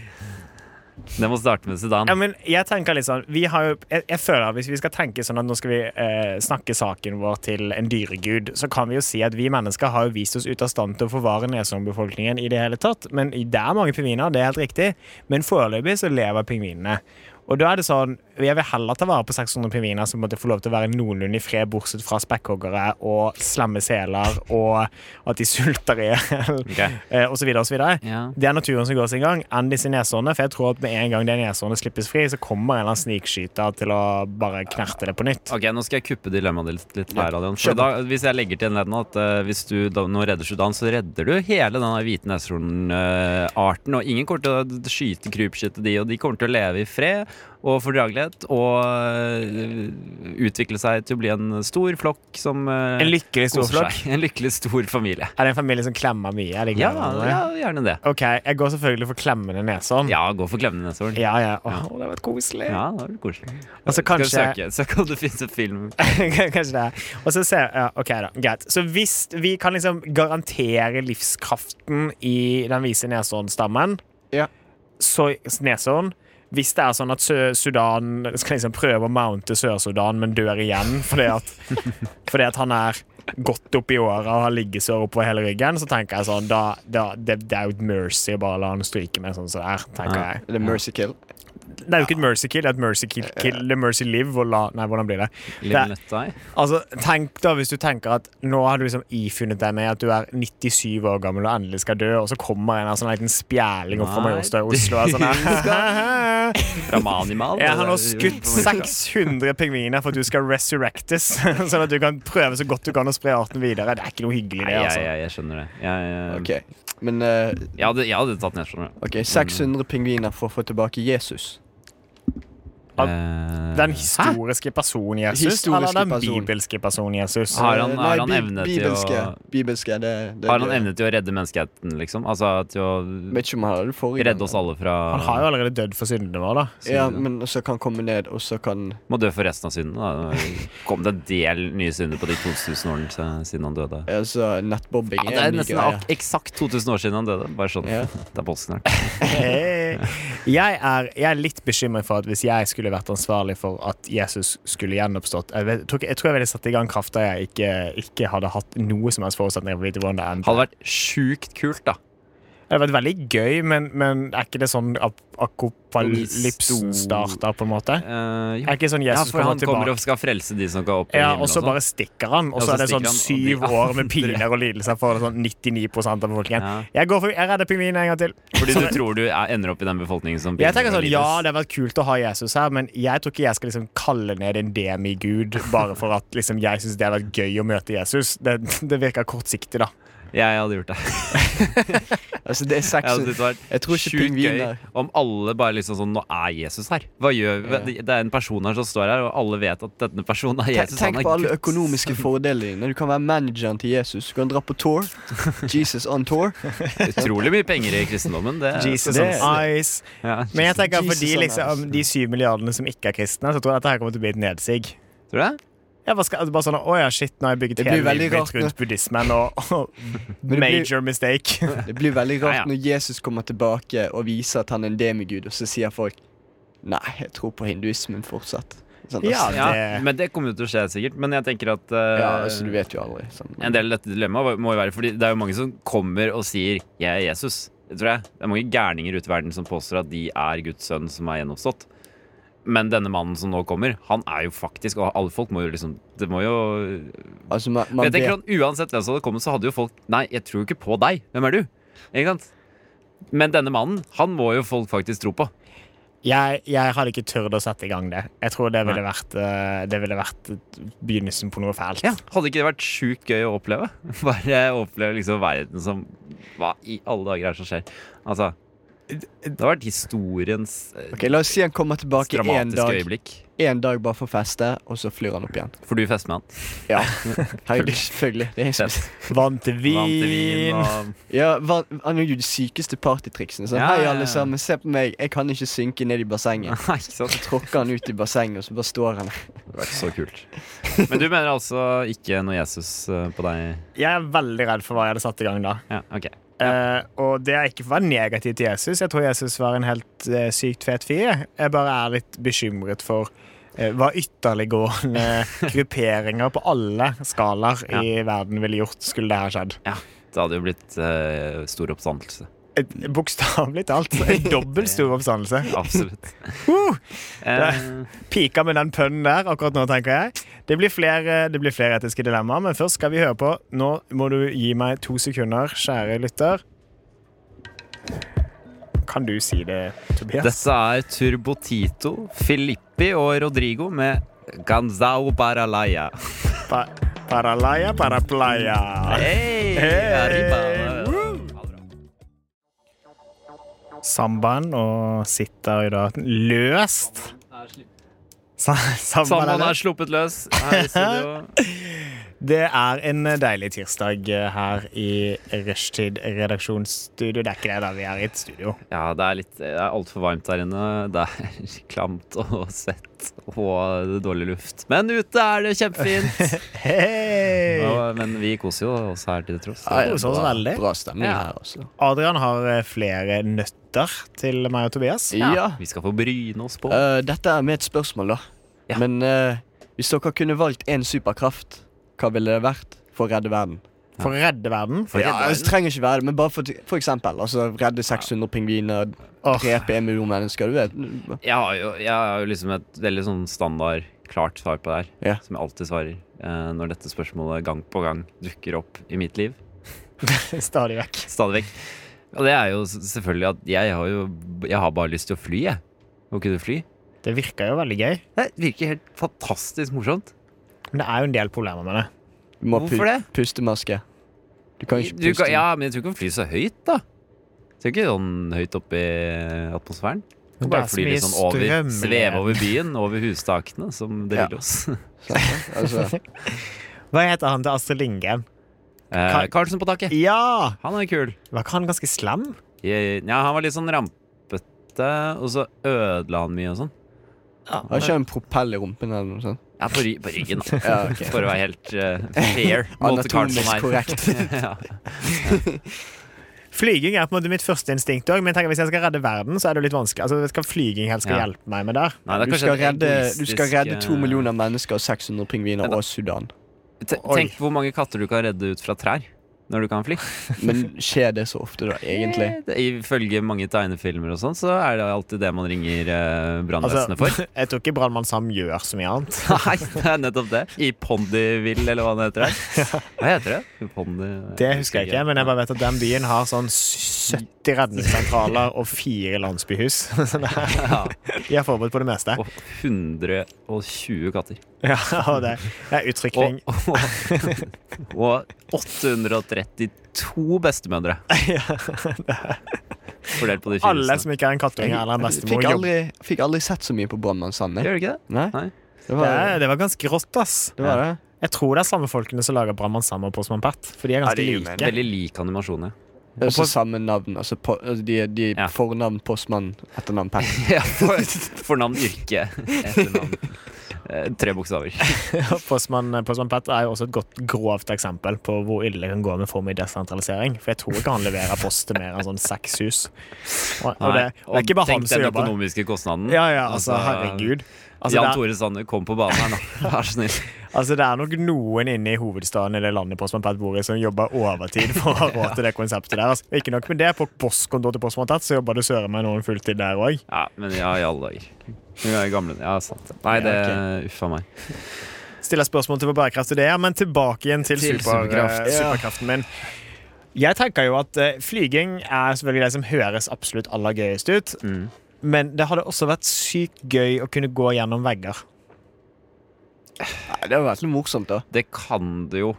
Speaker 2: Det må starte med Sudan.
Speaker 4: Ja, men jeg tenker litt sånn vi har jo, jeg, jeg føler at Hvis vi skal tenke sånn at nå skal vi eh, snakke saken vår til en dyregud, så kan vi jo si at vi mennesker har jo vist oss ut av stand til å forvare nesungbefolkningen i det hele tatt. Men det er mange pingviner, det er helt riktig. Men foreløpig så lever pingvinene. Og da er det sånn, Jeg vil heller ta vare på 600 pingviner som måtte få lov til å være noenlunde i fred, bortsett fra spekkhoggere og slemme seler og at de sulter i hjel,
Speaker 2: Ok.
Speaker 4: eh, osv. osv.
Speaker 2: Ja.
Speaker 4: Det er naturen som går sin gang, enn disse neshårene. For jeg tror at med en gang de neshårene slippes fri, så kommer en eller annen snikskyter til å bare knerte det på nytt.
Speaker 2: Ok, Nå skal jeg kuppe dilemmaet ditt litt. Her, Adrian. For da, hvis jeg legger til en ledd nå at eh, hvis du da, nå redder Sudan, så redder du hele denne hvite neshornarten. og ingen kommer til å skyte krypskytte de, og de kommer til å leve i fred og fordragelighet. Og eh, utvikle seg til å bli en stor flokk som eh,
Speaker 4: En lykkelig stor
Speaker 2: koser
Speaker 4: flokk.
Speaker 2: seg. En lykkelig stor familie.
Speaker 4: Er det en familie som klemmer mye? Er det
Speaker 2: Ja,
Speaker 4: glad i
Speaker 2: ja,
Speaker 4: hverandre?
Speaker 2: gjerne det.
Speaker 4: OK, jeg går selvfølgelig for klemmende neshorn.
Speaker 2: Ja, gå for klemmende neshorn.
Speaker 4: ja. ja. Åh, det var koselig.
Speaker 2: Ja, det var koselig.
Speaker 4: Altså, kanskje-
Speaker 2: Skal vi søke, søke om det finnes en
Speaker 4: (laughs)
Speaker 2: film
Speaker 4: Kanskje det. Og så ser ja, OK, da. Greit. Så hvis vi kan liksom garantere livskraften i den vise neshornstammen,
Speaker 1: Ja.
Speaker 4: så neshorn hvis det er sånn at Sø- Sudan skal liksom prøve å mounte Sør-Sudan, men dør igjen fordi at, fordi at han er godt oppi åra og har liggesår oppover hele ryggen, så tenker jeg sånn da, da, det, det er jo et mercy å bare la han stryke med sånn som det er, tenker
Speaker 2: Ja. Mm.
Speaker 4: jeg.
Speaker 1: Er det mercy kill?
Speaker 4: Det er jo ikke et mercy kill, det er et mercy kill, kill det er mercy live og la Nei, hvordan blir det?
Speaker 2: Liv
Speaker 4: Det-
Speaker 2: Nøttai?
Speaker 4: Altså, tenk da hvis du tenker at nå har du liksom ifunnet deg med at du er 97 år gammel og endelig skal dø, og så kommer en, en sånn liten spjæling opp fra
Speaker 2: Nei,
Speaker 4: Majorstua i Oslo og er
Speaker 2: (laughs)
Speaker 4: sånn
Speaker 2: du
Speaker 4: her.
Speaker 2: Fra Manimal?
Speaker 4: (laughs) Jeg har nå
Speaker 2: Det er-
Speaker 4: skutt 600 pingviner for at du skal resurrectes, (laughs) sånn at du kan prøve så godt du kan å spre arten videre. Det er ikke noe hyggelig,
Speaker 2: Nei,
Speaker 4: det,
Speaker 2: jeg,
Speaker 4: altså.
Speaker 2: jeg, jeg skjønner det. Jeg, jeg,
Speaker 1: Ok, men eh,
Speaker 2: jeg, hadde, jeg hadde tatt nedskjønner.
Speaker 1: ok, 600 pingviner for å få tilbake Jesus.
Speaker 4: Ja,
Speaker 2: Eh,
Speaker 4: Den historiske personen Jesus,
Speaker 1: Historiske
Speaker 4: eller den
Speaker 1: person.
Speaker 4: bibelske personen Jesus?
Speaker 2: Har han-
Speaker 1: Eh,
Speaker 2: har han
Speaker 1: bi-
Speaker 2: evne til
Speaker 1: bibelske,
Speaker 2: å-
Speaker 1: Bibelske, det, det
Speaker 2: Har han evne til å redde menneskeheten, liksom? Altså til å
Speaker 1: Vet ikke om han hadde det forrige gang.
Speaker 2: redde oss alle fra
Speaker 4: Han har jo allerede dødd for syndene våre, da.
Speaker 1: Ja, men så kan han komme ned, og så kan
Speaker 2: Må dø for resten av synden. Da. Det Kom det en del nye synder på de 2000 årene se- siden han døde?
Speaker 1: Altså, nettbobbing
Speaker 2: Ja, det er
Speaker 1: en ny
Speaker 2: nesten
Speaker 1: greie.
Speaker 2: ak eksakt 2000 år siden han døde. Bare sånn.
Speaker 1: Ja.
Speaker 2: (laughs) Det er påske snart.
Speaker 4: Eh, jeg, er, jeg er litt bekymret for at hvis jeg skulle vært ansvarlig for at Jesus skulle gjenoppstått Jeg, vet, tror ikke- jeg tror jeg ville satt i gang krafter jeg ikke, ikke hadde hatt noe som helst forutsetninger for å vite hvordan det endte.
Speaker 2: Hadde vært sjukt kult, da.
Speaker 4: Det hadde vært veldig gøy, men, men er ikke det sånn ap akopalypsen starter, på en måte?
Speaker 2: Eh, jo.
Speaker 4: Er ikke
Speaker 2: Sånn
Speaker 4: sånn
Speaker 2: Ja,
Speaker 4: Jesus
Speaker 2: for han
Speaker 4: kommer
Speaker 2: kommer
Speaker 4: tilbake?
Speaker 2: og skal frelse de som skal opp i
Speaker 4: Ja,
Speaker 2: himmelen
Speaker 4: og så
Speaker 2: og sånn.
Speaker 4: bare stikker han,
Speaker 2: Ja,
Speaker 4: og så
Speaker 2: så
Speaker 4: er det sånn
Speaker 2: stikker
Speaker 4: syv
Speaker 2: han, og de-
Speaker 4: år med piner og lidelser for
Speaker 2: (laughs)
Speaker 4: sånn 99 av befolkningen.
Speaker 2: sånn. Ja.
Speaker 4: Jeg går for, jeg redder pingvinen en gang til. (laughs)
Speaker 2: Fordi du tror du er, ender opp i den befolkningen som
Speaker 4: Jeg tenker sånn,
Speaker 2: lider.
Speaker 4: Ja, det har vært kult å ha Jesus her, men jeg tror ikke jeg skal liksom kalle ned en demigud bare for at liksom, jeg syns det har vært gøy å møte Jesus. Det, det virker kortsiktig, da.
Speaker 2: Jeg hadde gjort det.
Speaker 1: Altså, det er
Speaker 2: Jeg hadde syntes
Speaker 1: 600
Speaker 2: det var
Speaker 1: Jeg tror ikke
Speaker 2: sjukt
Speaker 1: pingviner-
Speaker 2: gøy om alle bare liksom sånn Nå er Jesus her. Hva gjør vi? Det- Det er en person her som står her, og alle vet at denne personen er
Speaker 1: Tenk,
Speaker 2: Jesus.
Speaker 1: tenk
Speaker 2: han er
Speaker 1: på alle
Speaker 2: Guds
Speaker 1: økonomiske fordelene dine. Du kan være manageren til Jesus. Du kan dra på
Speaker 2: (laughs)
Speaker 1: tour. Jesus on tour.
Speaker 2: sønn. Utrolig mye penger i kristendommen. Det, sånn-
Speaker 4: Jesus
Speaker 1: det-
Speaker 4: on ice.
Speaker 2: Ja.
Speaker 4: Men jeg tenker for de,
Speaker 1: Jesus on
Speaker 4: liksom,
Speaker 1: ice.
Speaker 4: de syv milliardene som ikke er kristne, så tror jeg dette her kommer til å bli et nedsig.
Speaker 2: Tror du det?
Speaker 4: Jeg bare, skal, altså, bare sånn, Å ja, shit, nå har jeg bygget
Speaker 1: Det blir
Speaker 4: hele
Speaker 1: veldig
Speaker 4: livet
Speaker 1: rart når-
Speaker 4: mitt rundt buddhismen, og, og
Speaker 1: (laughs) Men det blir-
Speaker 4: major mistake.
Speaker 1: Det blir veldig
Speaker 2: Ja, ja.
Speaker 1: rart når Jesus kommer tilbake og viser at han er en demigud, og så sier folk Nei, jeg tror på hinduismen fortsatt. Sånn, altså.
Speaker 4: Ja,
Speaker 2: Ja,
Speaker 4: det-
Speaker 2: men det kommer jo til å skje, sikkert. Men jeg tenker at eh,
Speaker 1: ja, altså, du vet jo aldri. Sånn.
Speaker 2: en del av dette dilemmaet må jo være Fordi det er jo mange som kommer og sier 'Jeg er Jesus'. Det tror jeg. Det er mange gærninger ute i verden som påstår at de er Guds sønn som er gjenoppstått. Men denne mannen som nå kommer, han er jo faktisk Og alle folk må jo liksom Det må jo
Speaker 1: Altså, man,
Speaker 2: Men
Speaker 1: man
Speaker 2: jeg tenker
Speaker 1: vet,
Speaker 2: sånn, Uansett hvem som hadde kommet, så hadde jo folk Nei, jeg tror jo ikke på deg. Hvem er du? Ikke sant? Men denne mannen, han må jo folk faktisk tro på.
Speaker 4: Jeg, jeg hadde ikke tørt å sette i gang det. Jeg tror det ville
Speaker 2: Nei.
Speaker 4: vært, eh, det ville vært begynnelsen på noe fælt.
Speaker 2: Hadde ikke det vært sjukt gøy å oppleve? (laughs) Bare oppleve liksom verden som Hva i alle dager er det som skjer? Altså Det har vært historiens eh,
Speaker 1: Ok, La oss si han kommer tilbake én
Speaker 2: dramatiske
Speaker 1: dag,
Speaker 2: øyeblikk.
Speaker 1: en dag bare for å feste, og så flyr han opp igjen.
Speaker 2: For du fester med han. (laughs)
Speaker 1: Ja, Herregud, selvfølgelig. Det er jeg som-
Speaker 4: Vann til vin.
Speaker 2: Vant til
Speaker 1: (laughs)
Speaker 2: vin og
Speaker 1: Ja, hva- Han gjør jo de sykeste partytriksene. Sånn.
Speaker 2: Ja, ja,
Speaker 1: Hei,
Speaker 2: ja.
Speaker 1: alle sammen, se på meg. Jeg kan ikke synke ned i bassenget.
Speaker 2: Nei, ikke sant?
Speaker 1: Så tråkker han ut i bassenget, og så bare står han der.
Speaker 2: Det hadde vært så
Speaker 1: (laughs)
Speaker 2: kult. Men du mener altså ikke noe Jesus eh, på deg?
Speaker 4: Jeg er veldig redd for hva jeg hadde satt i gang da.
Speaker 2: Ja, ok.
Speaker 4: Eh, og det er ikke for å være negativ til Jesus. Jeg tror Jesus var en helt eh, sykt fet fyr. Jeg bare er litt bekymret for eh, hva ytterliggående grupperinger på alle skalaer i verden ville gjort, skulle det her skjedd.
Speaker 2: Det hadde jo blitt eh, stor oppstandelse.
Speaker 4: Et- Bokstavelig talt. En dobbelt stor oppstandelse.
Speaker 1: (laughs)
Speaker 2: Absolutt.
Speaker 4: Woo!
Speaker 2: Eh,
Speaker 4: Pika med den pønnen der akkurat nå, tenker jeg. Det blir flere, det blir flere etiske dilemmaer, men først skal vi høre på Nå må du gi meg to sekunder, kjære lytter. Kan du si det, Tobias?
Speaker 2: Dette er Turbotito, Filippi og Rodrigo med Ganzao Baralaya.
Speaker 4: Pa paralaya, paraplaya.
Speaker 2: Hey,
Speaker 4: Hey!
Speaker 2: arriba.
Speaker 4: Samban og sitter jo da løst. Sa- Samban
Speaker 2: Samboen
Speaker 4: er
Speaker 2: er
Speaker 4: løst.
Speaker 2: sluppet løs her i studio.
Speaker 4: Det er en deilig tirsdag her i Rushtid redaksjonsstudio. Det er ikke det, da. Vi er i et studio.
Speaker 2: Ja, det er, litt- det er altfor varmt der inne. Det er (laughs) klamt og (laughs) svett og dårlig luft. Men ute er det kjempefint.
Speaker 4: (laughs) Hei!
Speaker 2: Og, men vi koser jo oss her til tross.
Speaker 4: Ja, koser oss veldig.
Speaker 1: Bra stemning
Speaker 2: Ja.
Speaker 1: her, altså.
Speaker 4: Adrian har eh, flere nøtter til meg og Tobias.
Speaker 1: Ja.
Speaker 2: Vi skal få bryne oss på.
Speaker 1: Eh, dette er med et spørsmål, da.
Speaker 2: Ja.
Speaker 1: Men eh, hvis dere kunne valgt én superkraft, hva ville det vært for å redde verden?
Speaker 4: For å redde verden.
Speaker 2: For å redde
Speaker 1: ja,
Speaker 2: verden?
Speaker 1: det trenger ikke være det, men bare for, for eksempel. Altså, redde 600 pingviner,
Speaker 4: Åh.
Speaker 1: drepe en million mennesker. Du vet.
Speaker 2: Jeg har jo, jeg har jo liksom et veldig sånn standard klart svar på det her.
Speaker 1: Ja.
Speaker 2: Som jeg alltid svarer eh, når dette spørsmålet gang på gang dukker opp i mitt liv.
Speaker 4: (laughs) Stadig vekk.
Speaker 2: Stadig vekk. Og det er jo s- selvfølgelig at jeg har jo Jeg har bare lyst til å fly, jeg. Å kunne fly.
Speaker 4: Det virker jo veldig gøy,
Speaker 2: Det virker helt fantastisk morsomt.
Speaker 4: men det er jo en del problemer med det.
Speaker 1: Du må ha pu
Speaker 2: Hvorfor det?
Speaker 1: pustemaske. Du kan ikke
Speaker 2: Du
Speaker 1: puste.
Speaker 2: kan, ja, men jeg tror ikke man flyr så høyt, da. Jeg tror ikke sånn høyt opp i atmosfæren. Du
Speaker 4: Men
Speaker 2: kan
Speaker 4: det er
Speaker 2: bare
Speaker 4: så
Speaker 2: fly
Speaker 4: mye
Speaker 2: litt sånn over,
Speaker 4: strøm i det.
Speaker 2: sveve over byen, over hustakene, som det
Speaker 1: Ja.
Speaker 2: vil oss.
Speaker 4: (laughs)
Speaker 1: Altså,
Speaker 4: Hva heter han til Astrid Lindgren?
Speaker 2: Eh,
Speaker 4: Kar-
Speaker 2: Karlsen på taket.
Speaker 4: Ja!
Speaker 2: Han er kul.
Speaker 4: Var ikke han ganske slem?
Speaker 2: Jeg, ja, han var litt sånn rampete, og så ødela han mye og sånn.
Speaker 1: har ikke en propell i rumpen eller noe sånt?
Speaker 2: Ja, på, ry på ryggen, da.
Speaker 1: (laughs) Ja, ok.
Speaker 2: For å være helt eh, fair. mot
Speaker 1: (laughs)
Speaker 2: Karlsson
Speaker 1: Anatomisk
Speaker 2: her.
Speaker 1: korrekt.
Speaker 2: (laughs) ja.
Speaker 4: Flyging er på en måte mitt første instinkt òg, men jeg tenker, hvis jeg skal redde verden, så er det jo litt vanskelig. Altså, Hva skal flyging helst skal
Speaker 2: Ja.
Speaker 4: hjelpe meg med der?
Speaker 2: Nei, det er
Speaker 1: Du
Speaker 2: kanskje
Speaker 1: skal,
Speaker 2: et
Speaker 1: redde, du skal
Speaker 2: egoistisk,
Speaker 1: redde to
Speaker 2: eh,
Speaker 1: millioner mennesker, 600 pingviner
Speaker 2: Men da-
Speaker 1: og Sudan.
Speaker 2: te-
Speaker 4: Oi.
Speaker 2: Tenk hvor mange katter du kan redde ut fra trær når du kan fly.
Speaker 1: Men skjer det så ofte, da, egentlig?
Speaker 2: Eh, det- Ifølge mange tegnefilmer og sånn, så er det alltid det man ringer eh, brannvesenet for. (laughs)
Speaker 4: Altså, jeg tror ikke Brannmann Sam gjør så mye annet.
Speaker 2: Nei, det er nettopp det. I Pondyville, eller hva det heter
Speaker 1: (laughs)
Speaker 2: der. Hva heter det? Pondy...
Speaker 4: Det husker jeg ikke, men jeg bare vet at den byen har sånn 70 redningssentraler og fire landsbyhus. (laughs) Så det er-
Speaker 2: (laughs) Ja.
Speaker 4: De er forberedt på det meste.
Speaker 2: Og 120 katter.
Speaker 4: Ja, (laughs) og det er utrykning.
Speaker 2: Og, og, og 832
Speaker 4: (laughs)
Speaker 2: bestemødre. Fordelt på de fire
Speaker 4: Alle
Speaker 2: husene.
Speaker 4: som ikke er en kattunge eller en bestemor,
Speaker 1: Fikk
Speaker 4: jobber.
Speaker 1: aldri, fikk aldri sett så mye på Brannmann Sand. jeg.
Speaker 2: Gjør det ikke det?
Speaker 1: Nei,
Speaker 2: Nei.
Speaker 1: det
Speaker 4: Det,
Speaker 1: var
Speaker 4: er- det var ganske rått, ass.
Speaker 1: det. Var det.
Speaker 4: Jeg tror det er samme folkene som lager Brannmann Sam og Postmann Pat, for de er ganske like. (laughs)
Speaker 2: Veldig lik animasjon, ja.
Speaker 1: Og så samme navn. Altså, po, altså de, de
Speaker 2: Ja.
Speaker 1: fornavn, postmann, etternavn, pet.
Speaker 2: ja (laughs) for, fornavn, yrke, etternavn. Eh, Tre bokstaver.
Speaker 4: Postmann, Postmann Pat er jo også et godt grovt eksempel på hvor ille det kan gå med form i desentralisering. For jeg tror ikke han leverer post til mer enn sånn seks hus. (laughs) Og, og det, og det er ikke bare han som
Speaker 2: Tenk den
Speaker 4: jobber.
Speaker 2: økonomiske kostnaden.
Speaker 4: Ja, ja, altså, herregud. Altså,
Speaker 2: Jan
Speaker 4: det,
Speaker 2: Tore Sanner, kom på banen her nå.
Speaker 4: (laughs)
Speaker 2: Vær så snill.
Speaker 4: er, altså, det er nok noen inne i hovedstaden eller landet Postmann Pat bor i, som jobber overtid for å ha råd til det konseptet der. Altså. Ikke nok med det, på postkontoret til Postmann Pat så jobber det søren meg noen fulltid der òg.
Speaker 2: Ja, men ja, i alle dager. Hun er gamle. Ja, sant. det. Nei,
Speaker 4: Ja,
Speaker 2: det Uffa meg.
Speaker 4: Stiller spørsmål til hvor bærekraftig det er, men tilbake igjen til,
Speaker 2: Til
Speaker 4: super,
Speaker 2: superkraft.
Speaker 4: eh, superkraften min. Jeg tenker jo at eh, flyging er selvfølgelig det som høres absolutt aller gøyest ut.
Speaker 2: Mm.
Speaker 4: Men det hadde også vært sykt gøy å kunne gå gjennom vegger.
Speaker 1: Nei, Det hadde vært litt morsomt, da.
Speaker 2: Det kan du jo.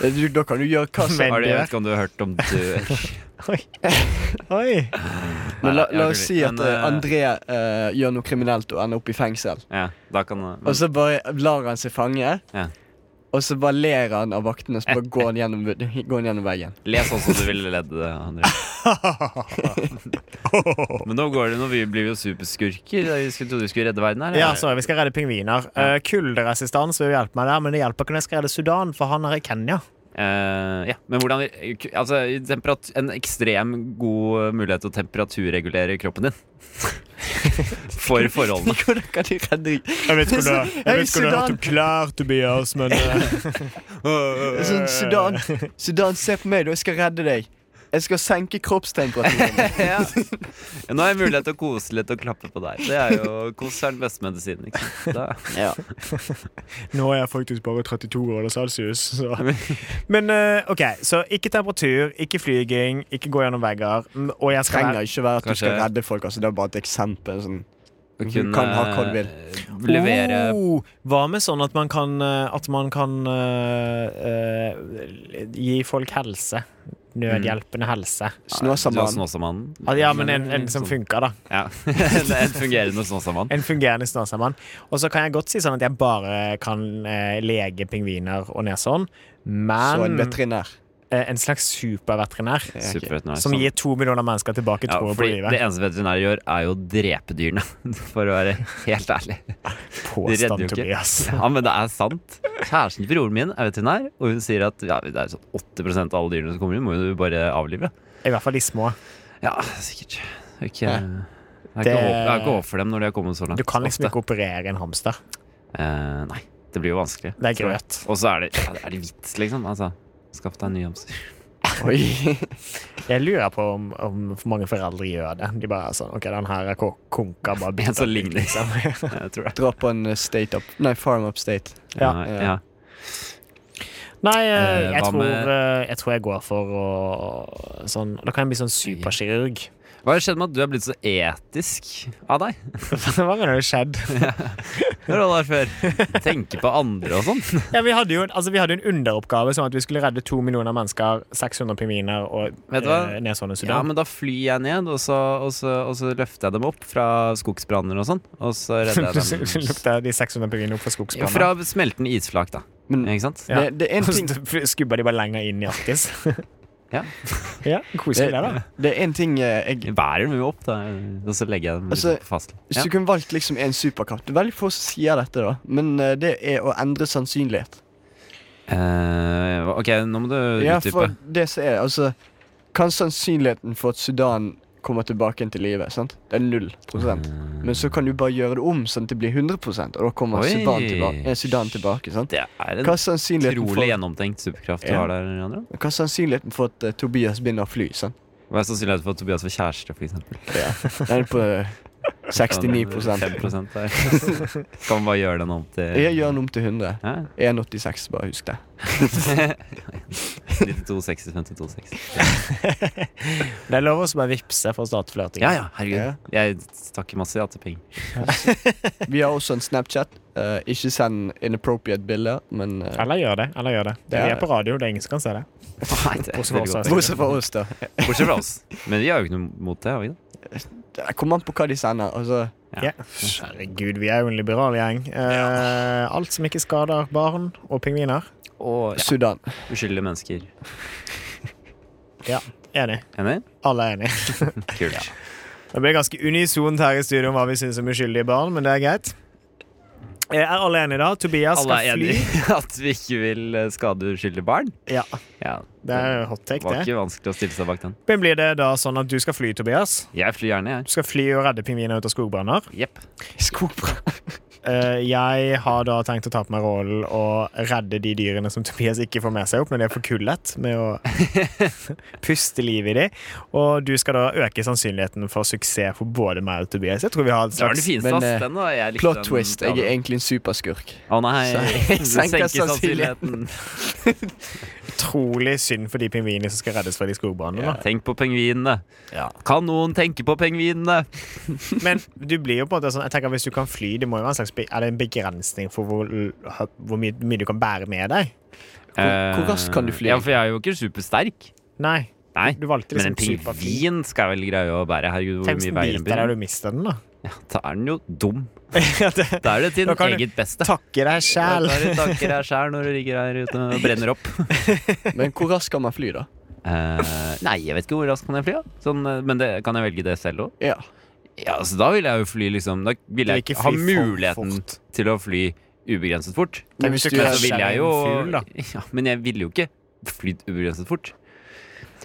Speaker 1: Du, da kan du gjøre hva som
Speaker 4: Men- En
Speaker 2: Har du, jeg
Speaker 4: dør.
Speaker 2: vet ikke om du har hørt om
Speaker 4: (laughs)
Speaker 2: dør?
Speaker 4: Oi. Oi.
Speaker 1: Men la,
Speaker 2: Nei,
Speaker 1: la
Speaker 2: jeg
Speaker 1: oss
Speaker 2: tror
Speaker 1: si
Speaker 2: ikke.
Speaker 1: at
Speaker 2: Men,
Speaker 1: eh,
Speaker 2: eh,
Speaker 1: André eh, gjør noe kriminelt og ender opp i fengsel.
Speaker 2: Ja, da kan men,
Speaker 1: Og så bare lar han seg fange.
Speaker 2: Ja.
Speaker 1: Og så bare ler han av vaktene, så bare går han gjennom, går han gjennom veien.
Speaker 2: Les sånn som du ville ledd det, André.
Speaker 4: (laughs)
Speaker 2: Men nå går det, nå vi blir vi jo superskurker. Vi skulle trodde vi skulle redde verden her.
Speaker 4: Ja,
Speaker 2: eller?
Speaker 4: sorry, vi skal Eh, redde pingviner. Uh, kulderesistans vil hjelpe meg der, men det hjelper ikke når jeg skal redde Sudan, for han er i Kenya.
Speaker 2: Eh, ja, men hvordan Altså, temperat- en ekstrem god mulighet til å temperaturregulere kroppen din. (laughs) For
Speaker 4: (laughs)
Speaker 2: forholdene.
Speaker 1: Hvordan kan de redde
Speaker 4: Jeg vet ikke om du- (laughs) jeg
Speaker 1: Hei,
Speaker 4: vet ikke om du har hørt
Speaker 1: Sudan.
Speaker 4: om klær, Tobias, (laughs) men eh,
Speaker 1: Det er Sånn, Sudan, Sudan, se på meg, da. Jeg skal redde deg. Jeg skal senke kroppstemperaturen.
Speaker 2: Ja. Nå har jeg mulighet til å kose litt og klappe på deg. Det er jo Kos er den beste medisinen. Ikke sant? Da.
Speaker 1: Ja.
Speaker 4: eh, Nå er jeg faktisk bare 32 grader celsius. Så. (laughs) Men eh, OK, så ikke temperatur, ikke flyging, ikke gå gjennom vegger. mm, Og jeg
Speaker 1: (laughs)
Speaker 4: skal
Speaker 1: Trenger ikke være at du skal
Speaker 2: Kanskje-
Speaker 1: redde folk. Altså, det er bare et eksempel. Sånn.
Speaker 2: Å
Speaker 1: Du
Speaker 2: kunne
Speaker 1: kan ha hva du vil.
Speaker 2: Levere
Speaker 4: Oh, hva med sånn at man kan, eh, at man kan eh, eh, gi folk helse? Nødhjelpende helse.
Speaker 2: Du har
Speaker 1: Snåsamann.
Speaker 2: Snåsamannen. sånn-
Speaker 4: Ah, Ja, men en, en som funker, da.
Speaker 2: Ja. (laughs) en, en fungerende snåsamann.
Speaker 4: En fungerende snarsamann. Og så kan jeg godt si sånn at jeg bare kan eh, lege pingviner og neshorn,
Speaker 1: Så
Speaker 4: men
Speaker 1: en veterinær.
Speaker 4: eh, en slags superveterinær
Speaker 2: Superveterinær.
Speaker 4: som gir to millioner mennesker tilbake
Speaker 2: ja,
Speaker 4: troa på
Speaker 2: fordi Det
Speaker 4: livet.
Speaker 2: eneste veterinærer gjør, er jo å drepe dyrene. (laughs) For å være helt ærlig. redder jo
Speaker 4: Påstand,
Speaker 2: ikke.
Speaker 4: Tobias.
Speaker 2: Ja, men det er sant. Kjæresten til broren min er veterinær, og hun sier at ja, det er sånn 80 av alle dyrene som kommer inn, må du bare avlive.
Speaker 4: I hvert fall de små.
Speaker 2: Ja, sikkert. Ikke,
Speaker 1: Ja.
Speaker 2: jeg har
Speaker 4: Det-
Speaker 2: ikke håp- jeg har ikke håp for dem når de har kommet så langt.
Speaker 4: Du kan liksom
Speaker 2: ofte.
Speaker 4: ikke operere en hamster.
Speaker 2: Eh, nei, det blir jo vanskelig.
Speaker 4: Det er grøt.
Speaker 2: Og så er det, ja, er det vits, liksom. Altså, skaff deg en ny hamster. (laughs)
Speaker 1: (laughs) Oi.
Speaker 4: Jeg lurer på om, om for mange foreldre gjør det. De bare er sånn OK, den her er ko- konka, bare
Speaker 2: (laughs) En
Speaker 4: bytt
Speaker 2: som
Speaker 4: den ut,
Speaker 2: ligner. (laughs)
Speaker 4: liksom.
Speaker 2: Jeg tror det.
Speaker 1: Dra på en eh, state up Nei, farm up state.
Speaker 4: Ja.
Speaker 2: Nei,
Speaker 1: Ja.
Speaker 2: ja.
Speaker 4: Nei, eh,
Speaker 2: Eh,
Speaker 4: jeg
Speaker 2: hva
Speaker 4: tror,
Speaker 2: med-
Speaker 4: eh, jeg tror jeg går for å sånn Da kan jeg bli sånn superkirurg. (laughs)
Speaker 2: Hva har skjedd med at du er blitt så etisk av deg?
Speaker 4: Hva mener du skjedd?
Speaker 2: Når du var der
Speaker 1: (laughs)
Speaker 2: før. Tenke på andre og sånn.
Speaker 4: Ja, vi hadde jo en, altså, vi hadde en underoppgave, sånn at vi skulle redde to millioner mennesker, 600 pingviner og
Speaker 2: Vet du hva?
Speaker 4: eh, neshorn i
Speaker 2: Ja,
Speaker 4: Sudan.
Speaker 2: men da flyr jeg ned, og så, og så, og så løfter jeg dem opp fra skogsbranner og sånn. Og så
Speaker 1: (laughs)
Speaker 2: redder jeg
Speaker 4: (laughs) Så
Speaker 2: dem.
Speaker 4: lukter de 600 pingvinene opp
Speaker 2: (laughs)
Speaker 4: fra
Speaker 2: Ja,
Speaker 4: skogsbanen.
Speaker 2: fra smeltende isflak, da.
Speaker 1: Men
Speaker 2: Ikke sant?
Speaker 4: Ja.
Speaker 1: det, det er en
Speaker 4: Så (laughs)
Speaker 1: ting
Speaker 4: Skubba de bare lenger inn i Arktis.
Speaker 2: (laughs) Ja.
Speaker 4: (laughs) ja, Koselig, det,
Speaker 2: (laughs)
Speaker 4: da.
Speaker 1: Det er en ting eh, jeg
Speaker 2: Bærer dem jo opp, da. Og så legger jeg dem
Speaker 1: Altså,
Speaker 2: liksom fast.
Speaker 1: Hvis
Speaker 2: Ja.
Speaker 1: du kunne valgt liksom en superkraft Det er veldig få som sier dette, da. Men eh, det er å endre sannsynlighet.
Speaker 2: Eh, ok, nå må du
Speaker 1: Ja,
Speaker 2: utdype.
Speaker 1: for det som er Altså, kan sannsynligheten for at Sudan kommer tilbake igjen til live, sant? Det er null prosent.
Speaker 2: Eh,
Speaker 1: Men så kan du bare gjøre det om sånn at det blir 100 og da kommer
Speaker 2: Oi.
Speaker 1: Sudan tilbake. Eh, Sudan tilbake sant?
Speaker 2: Det er
Speaker 1: Hva
Speaker 2: en
Speaker 1: er sannsynligheten
Speaker 2: utrolig
Speaker 1: for,
Speaker 2: gjennomtenkt superkraft du
Speaker 1: Ja.
Speaker 2: har der. Andrea.
Speaker 1: hva er sannsynligheten for at eh, Tobias begynner å fly? sant?
Speaker 2: Hva er sannsynligheten for at Tobias får kjæreste, for eksempel?
Speaker 1: Den er
Speaker 2: (laughs)
Speaker 1: på eh, 69
Speaker 2: 5 der. (laughs) Skal man bare gjøre den om til
Speaker 1: Jeg gjør den om til 100.
Speaker 2: Hæ?
Speaker 1: 1,86, bare husk det.
Speaker 2: 92, 60, 52, 60.
Speaker 4: Det er lov å bare vippse for å starte flørting.
Speaker 2: Ja ja, herregud.
Speaker 1: Ja.
Speaker 2: Jeg takker masse ja til penger.
Speaker 1: Vi har også en Snapchat. Eh, ikke send inappropriate bilder, men eh,
Speaker 4: Eller gjør det. eller gjør det. det
Speaker 1: Ja.
Speaker 4: Vi er på radio, det er ingen som kan se det.
Speaker 2: Nei, det er
Speaker 4: Bortsett fra
Speaker 2: veldig
Speaker 4: oss,
Speaker 2: godt.
Speaker 1: Bortsett fra oss, altså. da.
Speaker 2: Bortsett fra oss. Men vi har jo ikke noe mot det. har vi det?
Speaker 1: Det kommer an på hva de sender. Altså,
Speaker 2: Ja.
Speaker 4: Ja. Herregud, vi er jo en liberal gjeng. Eh, alt som ikke skader barn og pingviner.
Speaker 2: Og ja,
Speaker 1: Sudan.
Speaker 2: (laughs) uskyldige mennesker.
Speaker 4: Ja, Enig.
Speaker 2: Enig?
Speaker 4: Alle er enig.
Speaker 2: Kult.
Speaker 4: Det ble ganske unisont her i studio om hva vi syns om uskyldige barn, men det er greit. Eh, Er alle enige da? Tobias
Speaker 2: Alle
Speaker 4: skal
Speaker 2: er
Speaker 4: fly.
Speaker 2: enige i at vi ikke vil eh, skade uskyldige barn?
Speaker 4: Ja,
Speaker 2: Ja,
Speaker 4: det er hot
Speaker 2: det
Speaker 4: take,
Speaker 2: var
Speaker 4: det.
Speaker 2: ikke vanskelig å stille seg bak den.
Speaker 4: Men blir det da sånn at du skal fly, Tobias?
Speaker 2: Jeg flyr gjerne, jeg.
Speaker 4: Du skal fly og redde pingviner ut av skogbranner.
Speaker 2: Jepp. sånn
Speaker 1: Skogbrann.
Speaker 4: Eh, jeg har da tenkt å ta på meg rollen og redde de dyrene som Tobias ikke får med seg opp når de er forkullet,
Speaker 2: (laughs)
Speaker 4: med å puste liv i de. Og du skal da øke sannsynligheten for suksess for både meg og Tobias. Jeg tror vi har en
Speaker 2: Det var den
Speaker 4: slags
Speaker 2: fineste,
Speaker 1: Men,
Speaker 2: ass.
Speaker 1: eh,
Speaker 2: Den, da. Jeg likte
Speaker 1: Plot
Speaker 2: den
Speaker 1: twist. Jeg
Speaker 2: aller-
Speaker 1: er egentlig en superskurk. (laughs)
Speaker 2: Å nei,
Speaker 1: Så- senker
Speaker 2: du senker
Speaker 1: sannsynligheten.
Speaker 2: sannsynligheten.
Speaker 4: utrolig synd for de pingvinene som skal reddes fra de skogbrannene. da.
Speaker 2: Tenk på pengvinene. Kan noen tenke på pengvinene?
Speaker 4: Men du blir jo på en måte sånn Jeg tenker hvis du kan fly, det må jo være en slags be- Er det en begrensning for hvor, hvor mye, mye du kan bære med deg?
Speaker 1: Hvor- hvor raskt kan du fly?
Speaker 2: Eh, Ja, for jeg er jo ikke supersterk.
Speaker 4: Nei.
Speaker 2: Nei,
Speaker 4: Du valgte
Speaker 2: men en
Speaker 4: liksom
Speaker 2: pingvin skal jeg vel greie å bære. Herregud, hvor
Speaker 4: Tenk hvis
Speaker 2: mye
Speaker 4: den
Speaker 2: veier en
Speaker 4: biter deg
Speaker 2: pingvin?
Speaker 4: og du mister
Speaker 2: (laughs)
Speaker 4: den, da.
Speaker 2: Ja, da er den jo dum.
Speaker 4: Ja, det-
Speaker 2: Da er det til
Speaker 4: (laughs) Da
Speaker 2: ditt
Speaker 4: kan du-
Speaker 2: eget beste.
Speaker 4: Takke deg
Speaker 2: Da
Speaker 4: sjæl.
Speaker 2: tar du takker deg sjæl når du ligger her ute og brenner
Speaker 4: (laughs)
Speaker 2: opp.
Speaker 1: Men hvor raskt kan man fly, da?
Speaker 2: Eh, nei, jeg vet ikke hvor raskt kan jeg fly, da. Sånn, eh, men det, kan jeg velge det selv òg?
Speaker 1: Ja.
Speaker 2: Ja, altså, da vil jeg jo fly liksom Da vil
Speaker 4: Du vil
Speaker 2: jeg
Speaker 4: ikke
Speaker 2: ha
Speaker 4: fly for
Speaker 2: muligheten
Speaker 4: fort.
Speaker 2: til å fly ubegrenset fort.
Speaker 1: Men hvis du
Speaker 2: Men
Speaker 1: gjør
Speaker 2: så vil jeg jo (laughs)
Speaker 4: Skjære en fugl, da.
Speaker 2: ja, Men jeg vil jo ikke flydd ubegrenset fort.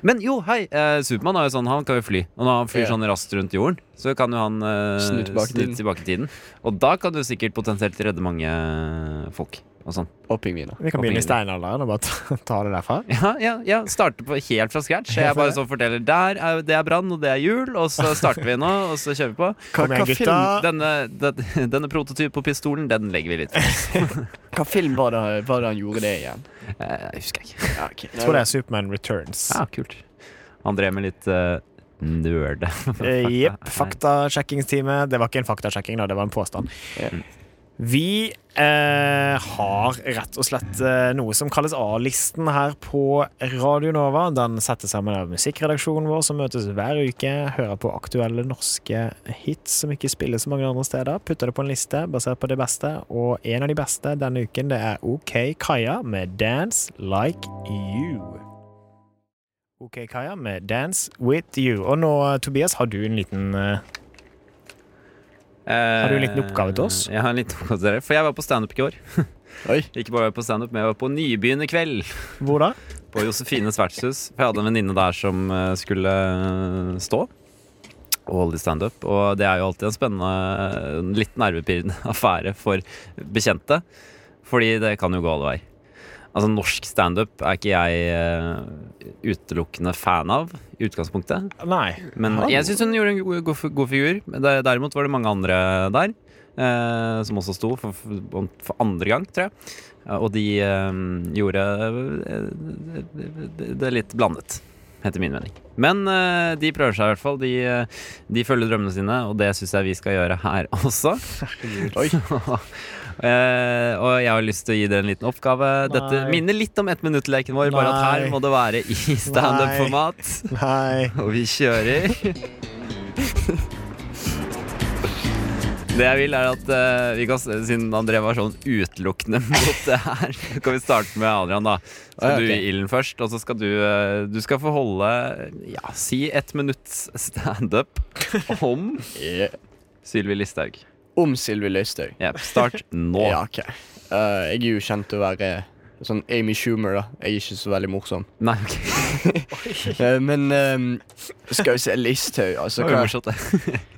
Speaker 2: Men jo, hei, eh, Supermann har jo sånn, han kan jo fly. Og når han flyr
Speaker 1: Ja.
Speaker 2: sånn raskt rundt jorden, så kan jo han eh,
Speaker 1: Snu tilbake
Speaker 2: snu
Speaker 1: tiden.
Speaker 2: tilbake i tiden. Og da kan du sikkert potensielt redde mange eh, folk. Og sånn. (laughs)
Speaker 1: Og pingviner.
Speaker 4: Vi kan begynne i steinalderen og bare ta, ta det derfra.
Speaker 2: Ja, ja, ja, starte på helt fra scratch. Jeg bare så forteller der er, det er brann, og det er jul, og så starter vi nå, og så kjører vi på.
Speaker 4: Kom igjen,
Speaker 1: hva film-
Speaker 4: gutta.
Speaker 2: Denne, den, denne prototyp-pistolen, den legger vi litt for.
Speaker 1: Hva film var det, var det han gjorde det igjen?
Speaker 2: Eh, Jeg husker ikke.
Speaker 1: Ja, ok.
Speaker 4: Jeg tror det er Superman Returns.
Speaker 2: Ja, Ah, kult. Han drev med litt uh, nerd.
Speaker 4: Eh,
Speaker 2: (laughs)
Speaker 4: Jepp. Faktasjekkingstime. Det var ikke en faktasjekking, da, det var en påstand.
Speaker 1: Ja.
Speaker 4: Vi eh, har rett og slett eh, noe som kalles A-listen her på Radio Nova. Den settes sammen av musikkredaksjonen vår, som møtes hver uke. Hører på aktuelle norske hits som ikke spilles så mange andre steder. Putter det på en liste basert på det beste, og en av de beste denne uken det er OK Kaja med 'Dance Like You'. OK, Kaja, med 'Dance With You'. Og nå, Tobias, har du en liten eh,
Speaker 2: Har
Speaker 4: du en liten oppgave til oss?
Speaker 2: Eh, Jeg har en liten oppgave til dere, for jeg var på standup i går.
Speaker 1: Oi.
Speaker 2: Ikke bare på standup, men jeg var på Nybyen i kveld.
Speaker 4: Hvor da?
Speaker 2: På Josefines vertshus. For jeg hadde en venninne der som eh, skulle eh, stå og holde i standup. Og det er jo alltid en spennende, eh, litt nervepirrende (laughs) affære for bekjente. Fordi det kan jo gå alle veier. Altså, norsk standup er ikke jeg eh, utelukkende fan av i utgangspunktet.
Speaker 4: Nei.
Speaker 2: Men
Speaker 4: Hallo.
Speaker 2: jeg syns hun gjorde en go- god, fi- god figur. Men det- Derimot var det mange andre der eh, som også sto for, for for andre gang, tror jeg. Eh, Og de eh, gjorde eh, det- det litt blandet, etter min mening. Men eh, de prøver seg i hvert fall. De, eh, de følger drømmene sine, og det syns jeg vi skal gjøre her (laughs) også.
Speaker 1: Oi.
Speaker 2: Eh, og jeg har lyst til å gi dere en liten oppgave. Dette
Speaker 4: Nei.
Speaker 2: minner litt om ettminuttleken vår, bare at her
Speaker 4: Nei.
Speaker 2: må det være i standup-format.
Speaker 4: Nei.
Speaker 2: Og vi kjører. Det jeg vil er at eh, vi kan, Siden André var sånn utelukkende (laughs) mot det her, så kan vi starte med Adrian. da
Speaker 1: Ah, ja,
Speaker 2: Skal du
Speaker 1: ok.
Speaker 2: i ilden først, og så skal du eh, Du skal få holde ja, si ett minutts standup om
Speaker 1: Ja.
Speaker 2: Sylvi Listhaug.
Speaker 1: Eh, Om Sylvi Løystøy.
Speaker 2: Jep, start nå.
Speaker 1: Ja, ok. Eh, jeg er jo kjent til å være sånn Amy Schumer, da. Jeg er ikke så veldig
Speaker 4: (laughs)
Speaker 1: morsom.
Speaker 2: Nei, ok.
Speaker 1: Eh, men ehm, skal vi se Listhaug, altså.
Speaker 2: Det var
Speaker 1: hva-
Speaker 2: morsomt, det.
Speaker 1: (laughs)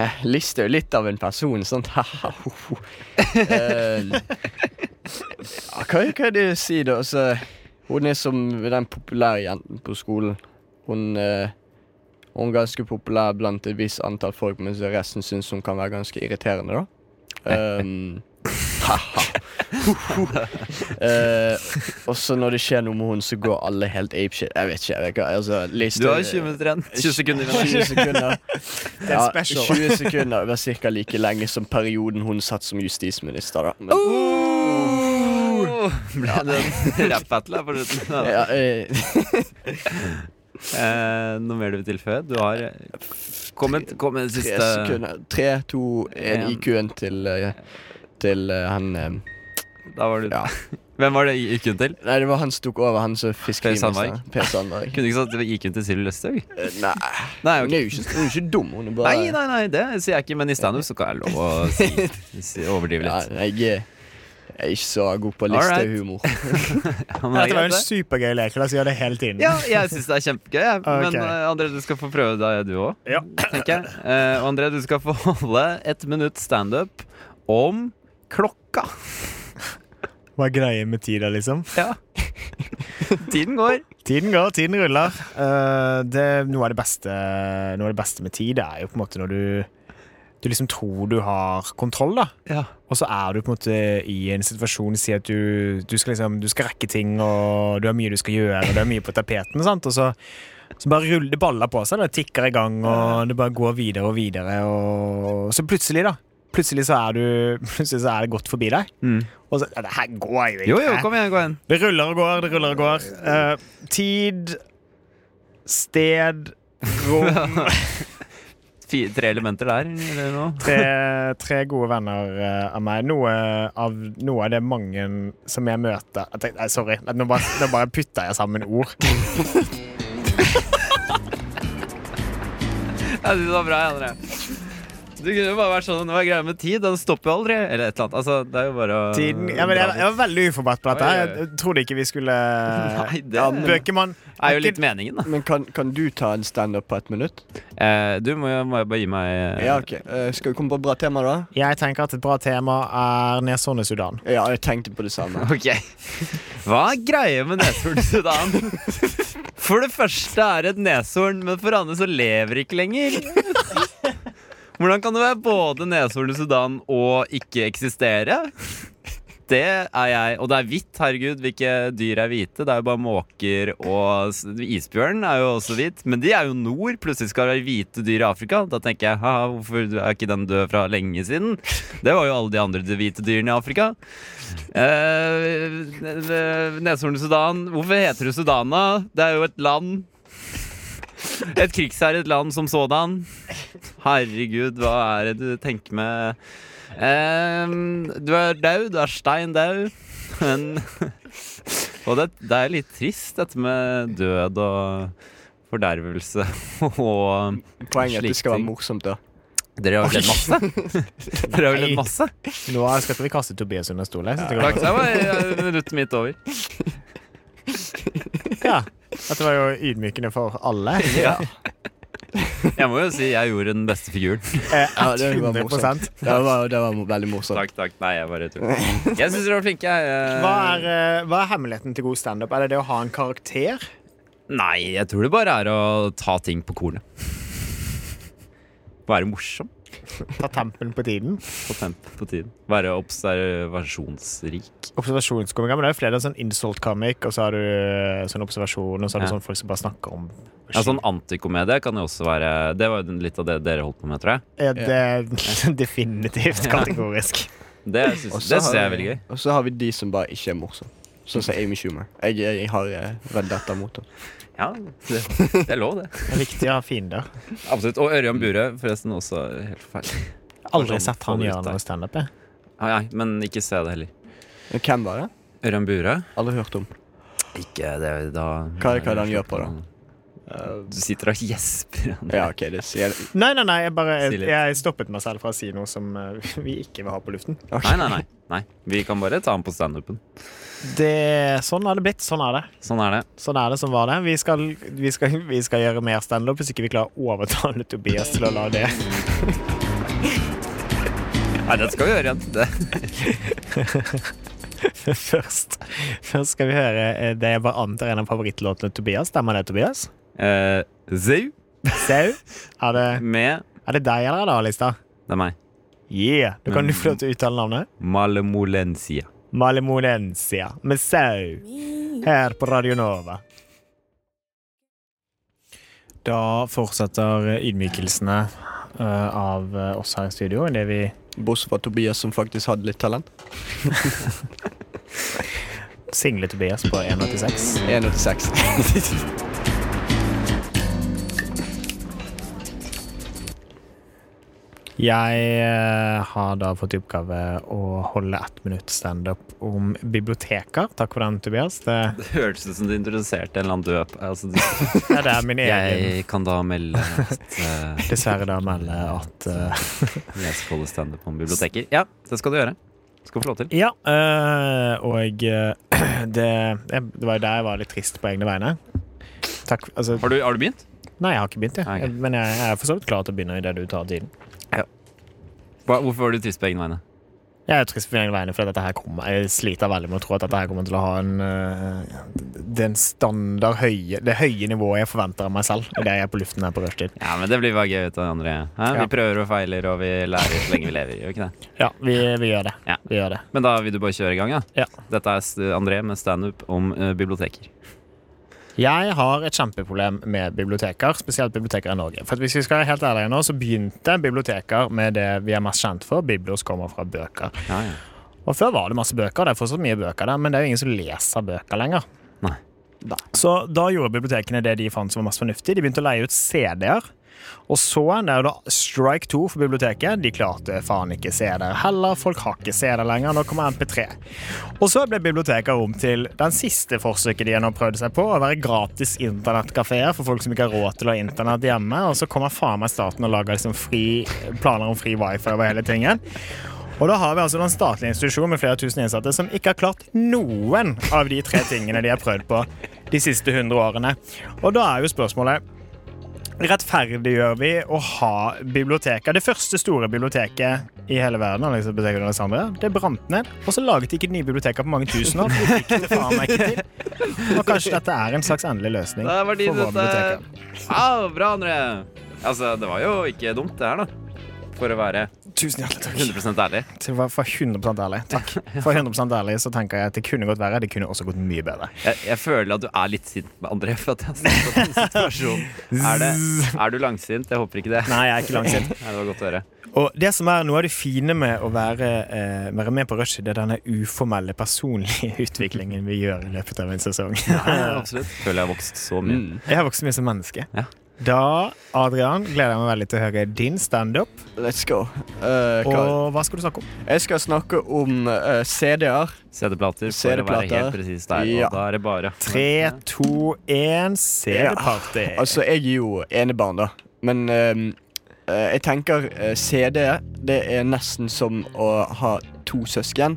Speaker 1: Eh, Listhaug er litt av en person. Sånn (laughs) Eh, ja, hva, hva er det å si, da? Altså, hun er som den populære jenten på skolen. Hun, eh, hun er ganske populær blant et visst antall folk, mens resten syns hun kan være ganske irriterende, da. (laughs) Um, uh, og så når det skjer noe med hun, så går alle helt apeshit. Jeg vet ikke. jeg vet ikke altså,
Speaker 2: (laughs) Du har
Speaker 1: Listhaug-
Speaker 2: 20 minutter igjen. 20 sekunder igjen.
Speaker 1: 20 sekunder.
Speaker 4: er
Speaker 1: Ja,
Speaker 4: special.
Speaker 1: 20 sekunder var ca. like lenge som perioden hun satt som justisminister. Da. Men,
Speaker 2: Oh!
Speaker 1: Oh!
Speaker 2: Ble det en rap-battle her på
Speaker 1: (laughs)
Speaker 2: slutten?
Speaker 1: ja,
Speaker 2: Ja.
Speaker 1: eh,
Speaker 2: Eh, noe mer du vil tilføye? Du har eh, Kom med kom med en
Speaker 1: tre
Speaker 2: siste
Speaker 1: sekunder. Tre, to, én
Speaker 2: En.
Speaker 1: i køen til, eh, til eh, han eh,
Speaker 2: Da var du
Speaker 1: Ja.
Speaker 2: (laughs) Hvem var det gikk hun til?
Speaker 1: Nei, det var han som tok over, han som fiskeriminister.
Speaker 2: Sandberg.
Speaker 1: Per Sandberg.
Speaker 2: Kunne du ikke sagt at det gikk hun til Sylvi Løsthaug?
Speaker 1: Eh, Nei,
Speaker 2: Nei,
Speaker 1: hun
Speaker 2: ok.
Speaker 1: er jo ikke, hun er ikke dum. Hun er bare
Speaker 2: nei, nei, nei, det sier jeg ikke, men i standup så kan jeg lov å si,
Speaker 1: (laughs)
Speaker 2: si overdrive
Speaker 1: Ja,
Speaker 2: litt.
Speaker 1: jeg, er- jeg er ikke så god på
Speaker 2: Alright.
Speaker 1: listehumor.
Speaker 2: Han er
Speaker 4: Dette var
Speaker 2: greit,
Speaker 4: jo en
Speaker 2: det.
Speaker 4: supergøy lek. La oss gjøre det hele tiden.
Speaker 2: Ja, jeg syns det er kjempegøy, jeg. men
Speaker 4: Ok.
Speaker 2: eh, André, du skal få prøve deg, du òg,
Speaker 4: Ja.
Speaker 2: tenker jeg. Eh, og André, du skal få holde ett minutt standup om klokka.
Speaker 4: Hva er greia med tida, liksom?
Speaker 2: Ja. Tiden går.
Speaker 4: Tiden går, tiden ruller. Eh, det, noe, av det beste, noe av det beste med tid det er jo på en måte når du Du liksom tror du har kontroll, da.
Speaker 2: Ja.
Speaker 4: Og så er du på en måte i en situasjon Si at du, du, skal, liksom, du skal rekke ting Og du har mye du skal gjøre Og du har mye på tapeten sant? Og så, så bare ruller det baller på seg Det tikker i gang Og det bare går videre og videre Og så plutselig da Plutselig så er, du, (laughs) plutselig så er det godt forbi deg
Speaker 2: Mm.
Speaker 4: Og så, ja, det her går jo ikke
Speaker 2: Jo, jo, kom igjen, gå igjen.
Speaker 4: Det ruller og går, det ruller og går Eh, Tid Sted Rom
Speaker 2: Fi- tre elementer der, eller (laughs) noe?
Speaker 4: tre, tre gode venner eh, av meg. Noe av, noe av det mange som jeg møter jeg tenkte, Nei, sorry. Nå bare, nå bare putter jeg sammen
Speaker 2: (laughs)
Speaker 4: ord.
Speaker 2: Jeg synes det var bra, jeg, André. Det kunne jo bare vært sånn, hva er greia med tid? Den stopper jo aldri. Eller et eller annet. Altså, det er jo bare å
Speaker 4: Tiden ja, men jeg, jeg var veldig uforberedt på dette.
Speaker 2: Oi, oi,
Speaker 4: her.
Speaker 2: oi.
Speaker 4: Jeg trodde ikke vi skulle
Speaker 2: (laughs) Nei, det
Speaker 4: Ja, Bøkemann
Speaker 2: er jo litt meningen, da.
Speaker 1: Men kan, kan du ta en standup på ett minutt?
Speaker 2: Eh, du må jo må jeg bare gi meg eh,
Speaker 1: Ja, ok. Eh, skal vi komme på et bra tema, da?
Speaker 4: Jeg tenker at et bra tema er neshorn i Sudan.
Speaker 1: Ja, jeg tenkte på det samme.
Speaker 2: (laughs) Ok. Hva er greia med neshorn i Sudan? For det første er det et neshorn, men for det andre så lever det ikke lenger. Hvordan kan det være både neshorn i Sudan og ikke eksistere? Det er jeg. Og det er hvitt, herregud. Hvilke dyr er hvite? Det er jo bare måker og s- isbjørn er jo også hvit. Men de er jo nord. Plutselig skal det være hvite dyr i Afrika. Da tenker jeg haha, hvorfor er ikke den død fra lenge siden? Det var jo alle de andre hvite dyrene i Afrika. Eh, Neshorn i Sudan. Hvorfor heter det Sudan, da? Det er jo et land. Et krigsherret land som sådan. Herregud, hva er det du tenker med Ehm, Du er daud, du er stein daud. Men (laughs) Og det, det er litt trist, dette med død og fordervelse (laughs) og
Speaker 1: Poenget er at det skal være
Speaker 2: Slik ting.
Speaker 1: morsomt, da.
Speaker 2: Dere har jo ledd masse. Dere har jo ledd masse.
Speaker 4: Nå skal vi kaste Tobias under stolen. Jeg synes det går
Speaker 2: Takk, så var eh, minuttet mitt over.
Speaker 4: bra. Ja. Dette var jo ydmykende for
Speaker 2: (laughs)
Speaker 4: alle. Eh,
Speaker 2: Jeg må jo si jeg gjorde den beste figuren.
Speaker 4: Eh,
Speaker 1: Ja, det var
Speaker 4: 100
Speaker 1: morsomt. Det var, det var veldig morsomt.
Speaker 2: Takk, takk. Nei, jeg bare tuller. Jeg syns dere var flinke. Jeg,
Speaker 4: hva er, eh, hva er hemmeligheten til god standup? Er det det å ha en karakter?
Speaker 2: Nei, jeg tror det bare er å ta ting på kornet. Være morsom
Speaker 4: Ta tempen på tiden?
Speaker 2: på temp på tiden. Være observasjonsrik.
Speaker 4: Observasjonskomiker, men det er jo flere sånn insult-comic, og så har du eh, sånn observasjon, og så har du
Speaker 2: Ja.
Speaker 4: sånn folk som bare snakker om
Speaker 2: Ja, sånn antikomedie kan jo også være Det var jo den- litt av det dere holdt på med, tror jeg.
Speaker 4: Ja, (laughs) det er definitivt kategorisk.
Speaker 2: Det syns det syns jeg er veldig gøy.
Speaker 1: Og så har vi de som bare ikke er morsomme. Sånn som Amy Schumer. Jeg, jeg har eh, vendetta mot henne.
Speaker 2: Ja, det, det er lov, det.
Speaker 4: Det er viktig å ha fiender.
Speaker 2: Absolutt. Og Ørjan Burøe, forresten, også helt forferdelig.
Speaker 4: Aldri
Speaker 2: Sånn
Speaker 4: sett han gjøre
Speaker 2: favoritt der.
Speaker 4: noe standup. jeg.
Speaker 2: Nei, nei, men ikke se det heller.
Speaker 1: Men Hvem var det?
Speaker 2: Ørjan Burøe?
Speaker 1: Aldri hørt om.
Speaker 2: Ikke det, da
Speaker 1: Hva er det han gjør på, da?
Speaker 2: Du sitter og gjesper.
Speaker 1: (laughs) Ja, ok, det sier jeg.
Speaker 4: Nei, nei, nei, jeg bare
Speaker 2: Si
Speaker 4: jeg,
Speaker 2: litt.
Speaker 4: jeg stoppet meg selv fra å si noe som eh, (laughs) vi ikke vil ha på luften.
Speaker 2: Nei, nei, nei. nei. Vi kan bare ta den på standupen.
Speaker 4: Det, sånn har det blitt. Sånn er det.
Speaker 2: Sånn er det.
Speaker 4: Sånn er det som var det. Vi skal, vi skal, vi skal gjøre mer standup hvis ikke vi klarer å overtale Tobias til å la det.
Speaker 2: Nei, det skal vi gjøre igjen. (laughs) Det.
Speaker 4: (laughs) Først, først skal vi høre eh, det jeg bare antar er en av favorittlåtene til Tobias. Stemmer det, Tobias?
Speaker 2: Eh, Zau
Speaker 4: Sau? Er det,
Speaker 2: med
Speaker 4: er det deg eller er det A-lista?
Speaker 2: Det er meg.
Speaker 4: Yeah! Du kan jo få lov til å uttale navnet.
Speaker 2: Malemolensia.
Speaker 4: Malemolensia med sau. her på Radio Nova. Da fortsetter ydmykelsene eh, av eh, oss her i studio. Det vi
Speaker 1: Bortsett fra Tobias, som faktisk hadde litt talent.
Speaker 4: singlet Tobias på 186.
Speaker 1: 1,86.
Speaker 4: Jeg eh, har da fått i oppgave å holde ett minutt standup om biblioteker. Takk for den, Tobias. Det,
Speaker 2: Det hørtes ut som du introduserte en eller annen døp. Altså,
Speaker 4: ja, det
Speaker 2: (laughs)
Speaker 4: er min egen
Speaker 2: jeg kan da melde at uh,
Speaker 4: Dessverre da melde at eh,
Speaker 2: lesefolde standup om biblioteker. Ja, det skal du gjøre. Skal få lov til.
Speaker 4: Ja, øh, og øh, (clears throat) det, jeg- det var jo der jeg var litt trist på egne vegne. Takk. Altså,
Speaker 2: Har du, har du begynt?
Speaker 4: nei, jeg har ikke begynt, jeg.
Speaker 2: Ok.
Speaker 4: Jeg- Men jeg, jeg er for så vidt klar til å begynne idet du tar tiden.
Speaker 2: Hva, hvorfor var du trist på egne vegne?
Speaker 4: Jeg er trist på egne vegne fordi dette her kommer Jeg sliter veldig med å tro at dette her kommer til å ha en øh, den standard høye det høye nivået jeg forventer av meg selv idet jeg er på luften her på rushtid.
Speaker 2: Ja, men Det blir bare gøy ut av andre. Hæ?
Speaker 4: Ja.
Speaker 2: Vi prøver og feiler, og vi lærer så lenge vi lever. Gjør vi ikke det?
Speaker 4: Ja, vi, vi gjør det.
Speaker 2: Ja.
Speaker 4: Vi gjør det.
Speaker 2: Men da vil du bare kjøre i gang, ja?
Speaker 4: Ja.
Speaker 2: Dette er S- André med standup om eh, biblioteker.
Speaker 4: Jeg har et kjempeproblem med biblioteker, spesielt biblioteker i Norge. For at hvis vi skal være helt ærlige nå, så begynte biblioteker med det vi er mest kjent for. Biblos kommer fra bøker.
Speaker 2: Ja, ja.
Speaker 4: Og før var det masse bøker, og det er fortsatt mye bøker der, men det er jo ingen som leser bøker lenger.
Speaker 2: Nei.
Speaker 4: Så da gjorde bibliotekene det de fant som var mest fornuftig. De begynte å leie ut CD-er. Og så det er jo da Strike 2 for biblioteket. De klarte faen ikke CD-er heller. Folk har ikke CD-er lenger. Nå kommer MP3. Og så ble biblioteket om til den siste forsøket de gjennomprøvde seg på. Å være gratis internettkafeer for folk som ikke har råd til å ha internett hjemme. Og så kommer faen meg staten og lager liksom fri, planer om fri wifi over hele tingen. Og da har vi altså en statlig institusjon med flere tusen innsatte som ikke har klart noen av de tre tingene de har prøvd på de siste 100 årene. Og da er jo spørsmålet Rettferdiggjør vi å ha biblioteker? Det første store biblioteket i hele verden altså biblioteket i Alexandria, det brant ned. Og så laget de ikke nye biblioteker på mange tusen år. for de fikk det faen meg ikke til. Og kanskje dette er en slags endelig løsning
Speaker 2: Da var de
Speaker 4: for våre biblioteker.
Speaker 2: Au, bra, André. Altså, det var jo ikke dumt, det her, da. For å være
Speaker 4: Tusen hjertelig takk.
Speaker 2: 100 ærlig.
Speaker 4: Til å være for 100 ærlig. Takk. For 100 ærlig så tenker jeg at det kunne gått verre. Det kunne også gått mye bedre.
Speaker 2: Jeg, jeg føler at du er litt sint med André for at jeg har satt deg i den situasjonen. Er, det, er du langsint? Jeg håper ikke det.
Speaker 4: Nei, jeg er ikke langsint.
Speaker 2: Nei, det var godt å høre.
Speaker 4: (laughs) Og det som er noe av det fine med å være, eh, være med på Rushdie, det er denne uformelle personlige (laughs) utviklingen vi gjør i løpet av en sesong.
Speaker 2: Absolutt. Føler jeg har vokst så mye.
Speaker 4: Jeg har vokst mye som menneske.
Speaker 2: Ja.
Speaker 4: Da, Adrian, gleder jeg meg veldig til å høre din standup.
Speaker 1: (laughs) Let's go. Eh, hva-
Speaker 4: Og hva skal du snakke om?
Speaker 1: jeg skal snakke om eh, CD-er.
Speaker 2: CD-plater, for å være
Speaker 1: CD-plater.
Speaker 2: helt presis der.
Speaker 1: Ja.
Speaker 2: Og da er det bare
Speaker 4: Tre, to, én, CD-party.
Speaker 1: Altså, jeg er jo enebarn, da. Men ehm, eh, jeg tenker eh, CD, det er nesten som å ha to søsken.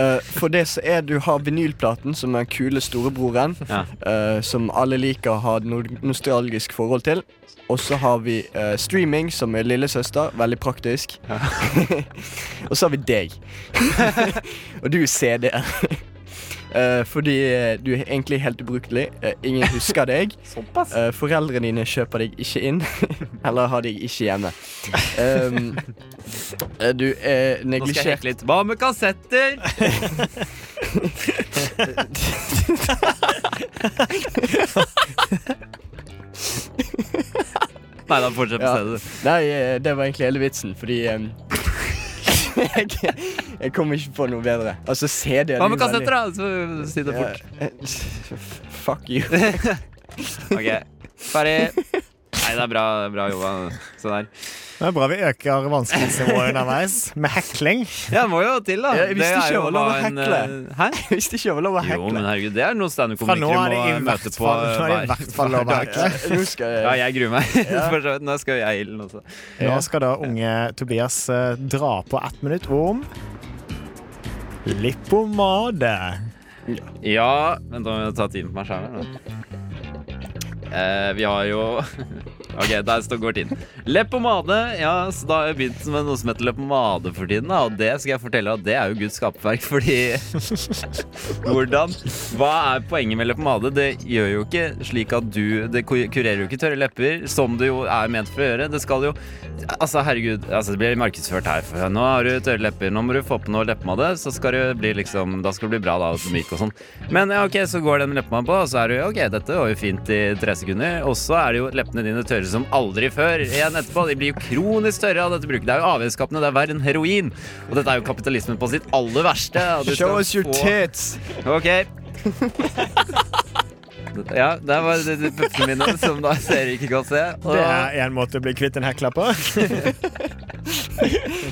Speaker 1: Eh, for det så er du har vinylplaten, som er den kule storebroren,
Speaker 2: Ja.
Speaker 1: eh, som alle liker å ha et no- nostalgisk forhold til. Og så har vi eh, streaming, som er lillesøster. Veldig praktisk. (laughs) Og så har vi deg. (laughs) Og du er CD. (laughs) Eh, fordi eh, du er egentlig helt ubrukelig. Eh, ingen husker deg.
Speaker 2: (laughs) Såpass.
Speaker 1: Eh, foreldrene dine kjøper deg ikke inn, (laughs) eller har deg ikke
Speaker 2: (laughs)
Speaker 1: hjemme. Um, eh, du er
Speaker 2: Nå skal jeg
Speaker 1: neglisjert
Speaker 2: hekle litt. Hva med kassetter? Nei da, fortsett på
Speaker 1: Ja.
Speaker 2: stedet.
Speaker 1: Nei, eh, det var egentlig hele vitsen, fordi um, jeg, (laughs) jeg kom ikke på noe bedre. Altså, CD
Speaker 2: Hva med kassetter, da? Så si det fort.
Speaker 1: eh, Fuck you. (laughs)
Speaker 2: Ok, ferdig. Nei, det er bra, bra jobba. Sånn her.
Speaker 4: Det er bra vi øker vanskelighetsnivået underveis med hekling.
Speaker 2: Ja, det må jo til, da.
Speaker 1: Ja, jeg visste
Speaker 2: Det er
Speaker 1: ikke
Speaker 2: jo
Speaker 1: det var lov å
Speaker 2: hva en,
Speaker 1: hekle.
Speaker 2: eh, Hæ?
Speaker 1: Jeg visste ikke jeg var lov å
Speaker 2: Jo, men
Speaker 1: hekle.
Speaker 2: herregud, det er noe
Speaker 4: Fra nå er det
Speaker 2: standup-komikere
Speaker 4: i
Speaker 2: må møte
Speaker 4: hvert
Speaker 2: på eh,
Speaker 4: fall, nå er det i
Speaker 2: hver-
Speaker 4: hvert fall lov å
Speaker 2: hver dag.
Speaker 4: hekle.
Speaker 1: Nå skal
Speaker 2: Ja,
Speaker 1: jeg
Speaker 2: jeg gruer meg. (laughs) For så vidt. Nå skal jeg i ilden også.
Speaker 4: Nå skal da unge Tobias eh, dra på ett minutt om Lippomade.
Speaker 2: Ja Vent, da må jeg ta tiden på meg sjæl. Eh, vi har jo (laughs) OK, der står- går tiden. Leppepomade. Ja, så da har jeg begynt med noe som heter leppepomade for tiden. Da, og det skal jeg fortelle at det er jo Guds skaperverk, fordi Hvordan? Hva er poenget med leppepomade? Det gjør jo ikke slik at du Det ku- kurerer jo ikke tørre lepper, som det jo er ment for å gjøre. Det skal jo Altså, herregud, altså, det blir markedsført her. For nå har du tørre lepper, nå må du få på noe leppepomade, så skal det bli liksom Da skal det bli bra, da, og myk og sånn. Men ja, ok, så går den leppepomaden på, og så er du ok, dette var jo fint i tre sekunder. Og så er det jo leppene dine tørre som aldri før igjen etterpå. De blir jo kronisk tørre av dette bruket. Det er jo avhengighetsskapende, det er verre enn heroin. Og dette er jo kapitalismen på sitt aller verste. og du
Speaker 1: Show
Speaker 2: skal
Speaker 1: us your
Speaker 2: få-
Speaker 1: tits.
Speaker 2: Ok. Ja, der var det de puppene mine som da ser ikke kan se. Og
Speaker 4: Det
Speaker 2: det
Speaker 4: er en måte å bli kvitt en hekler på.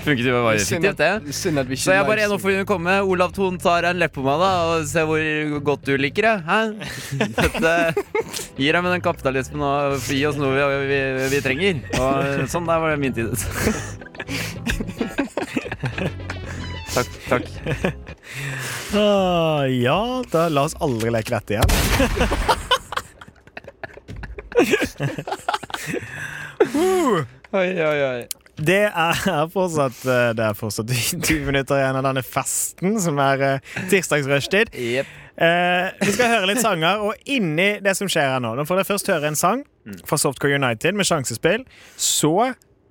Speaker 2: funket jo bare effektivt, det.
Speaker 1: Synd at vi ikke
Speaker 2: Så jeg bare
Speaker 1: live-
Speaker 2: nå får hun komme. Olav Thon tar en leppe på meg, da, og ser hvor godt du liker det. Hæ? Dette gir deg med den kapitalismen og gi oss noe vi, vi, vi trenger. Og sånn der var det min tid. Takk. takk
Speaker 4: Ah, ja, da la oss aldri leke dette igjen.
Speaker 2: Oi, oi, oi.
Speaker 4: Det er fortsatt, eh, det er fortsatt (laughs) 20 minutter igjen av denne festen, som er eh, tirsdags rushtid.
Speaker 2: Jepp.
Speaker 4: Eh, vi skal høre litt sanger, og inni det som skjer her nå Nå får dere først høre en sang fra Softcore United med sjansespill. Så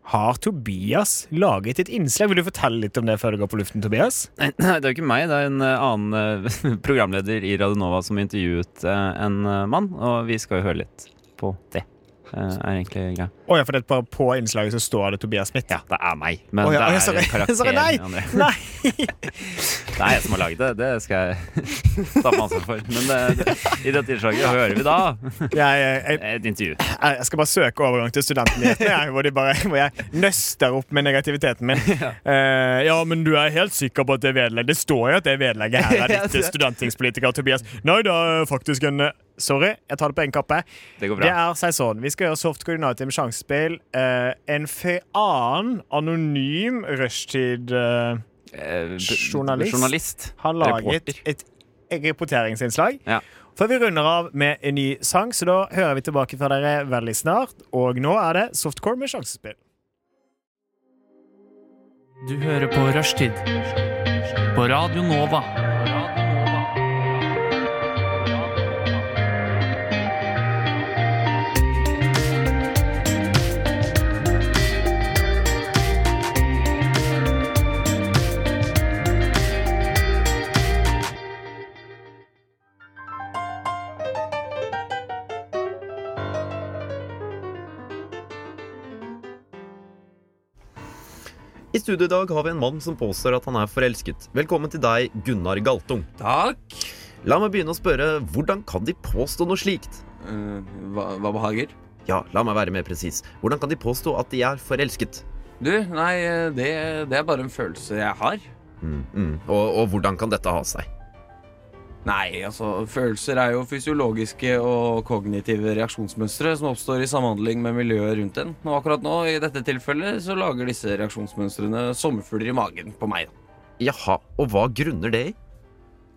Speaker 4: har Tobias laget et innslag. Vil du fortelle litt om det før det går på luften, Tobias?
Speaker 2: Nei, (clears throat) det er jo ikke meg. Det er en eh, annen eh, (laughs) programleder i Radio Nova som intervjuet eh, en eh, mann, og vi skal jo høre litt på det. eh, er egentlig greia.
Speaker 4: Å ja, for det er bare på innslaget så står det Tobias Smith.
Speaker 2: Ja, det er meg, men
Speaker 4: Å ja, å ja,
Speaker 2: det er
Speaker 4: (laughs) sorry.
Speaker 2: karakteren
Speaker 4: Sorry, nei.
Speaker 2: André.
Speaker 4: (laughs) Nei!
Speaker 2: Det er jeg som har laget det. Det skal jeg (laughs) ta på ansvar for. Men eh, i dette innslaget hører vi da
Speaker 4: Jeg, jeg, jeg,
Speaker 2: et intervju.
Speaker 4: jeg skal bare søke overgang til studentnyhetene, jeg, hvor, de bare, hvor jeg nøster opp med negativiteten
Speaker 2: (laughs)
Speaker 4: min. Eh, ja, men du er helt sikker på at det vedlegget Det står jo at det vedlegget
Speaker 2: (laughs)
Speaker 4: her er ditt studenttingspolitiker Tobias. Nei, det er faktisk en eh, Sorry, jeg tar det på én kappe.
Speaker 2: Det går
Speaker 4: Det
Speaker 2: bra.
Speaker 4: er seg sånn. Vi skal gjøre soft koordinater med sjansespill. Eh, en fe- annen anonym rushtid eh,
Speaker 2: Eh, b-
Speaker 4: journalist.
Speaker 2: journalist.
Speaker 4: har laget
Speaker 2: Reporter.
Speaker 4: et reporteringsinnslag.
Speaker 2: Ja.
Speaker 4: Før vi runder av med en ny sang, så da hører vi tilbake fra dere veldig snart. Og nå er det softcore med sjansespill.
Speaker 6: Du hører på Rushtid på Radio Nova.
Speaker 2: I studio i dag har vi en mann som påstår at han er forelsket. Velkommen til deg, Gunnar Galtung.
Speaker 7: Takk.
Speaker 2: La meg begynne å spørre, hvordan kan de påstå noe slikt?
Speaker 7: Eh, hva, hva behager?
Speaker 2: Ja, la meg være mer presis. Hvordan kan de påstå at de er forelsket?
Speaker 7: Du, nei, eh, det, det er bare en følelse jeg har.
Speaker 2: Mm, mm. Og, og hvordan kan dette ha seg?
Speaker 7: Nei, altså, følelser er jo fysiologiske og kognitive reaksjonsmønstre som oppstår i samhandling med miljøet rundt en. Og akkurat nå, i dette tilfellet, så lager disse reaksjonsmønstrene sommerfugler i magen på meg. da.
Speaker 2: Jaha, og hva grunner det i?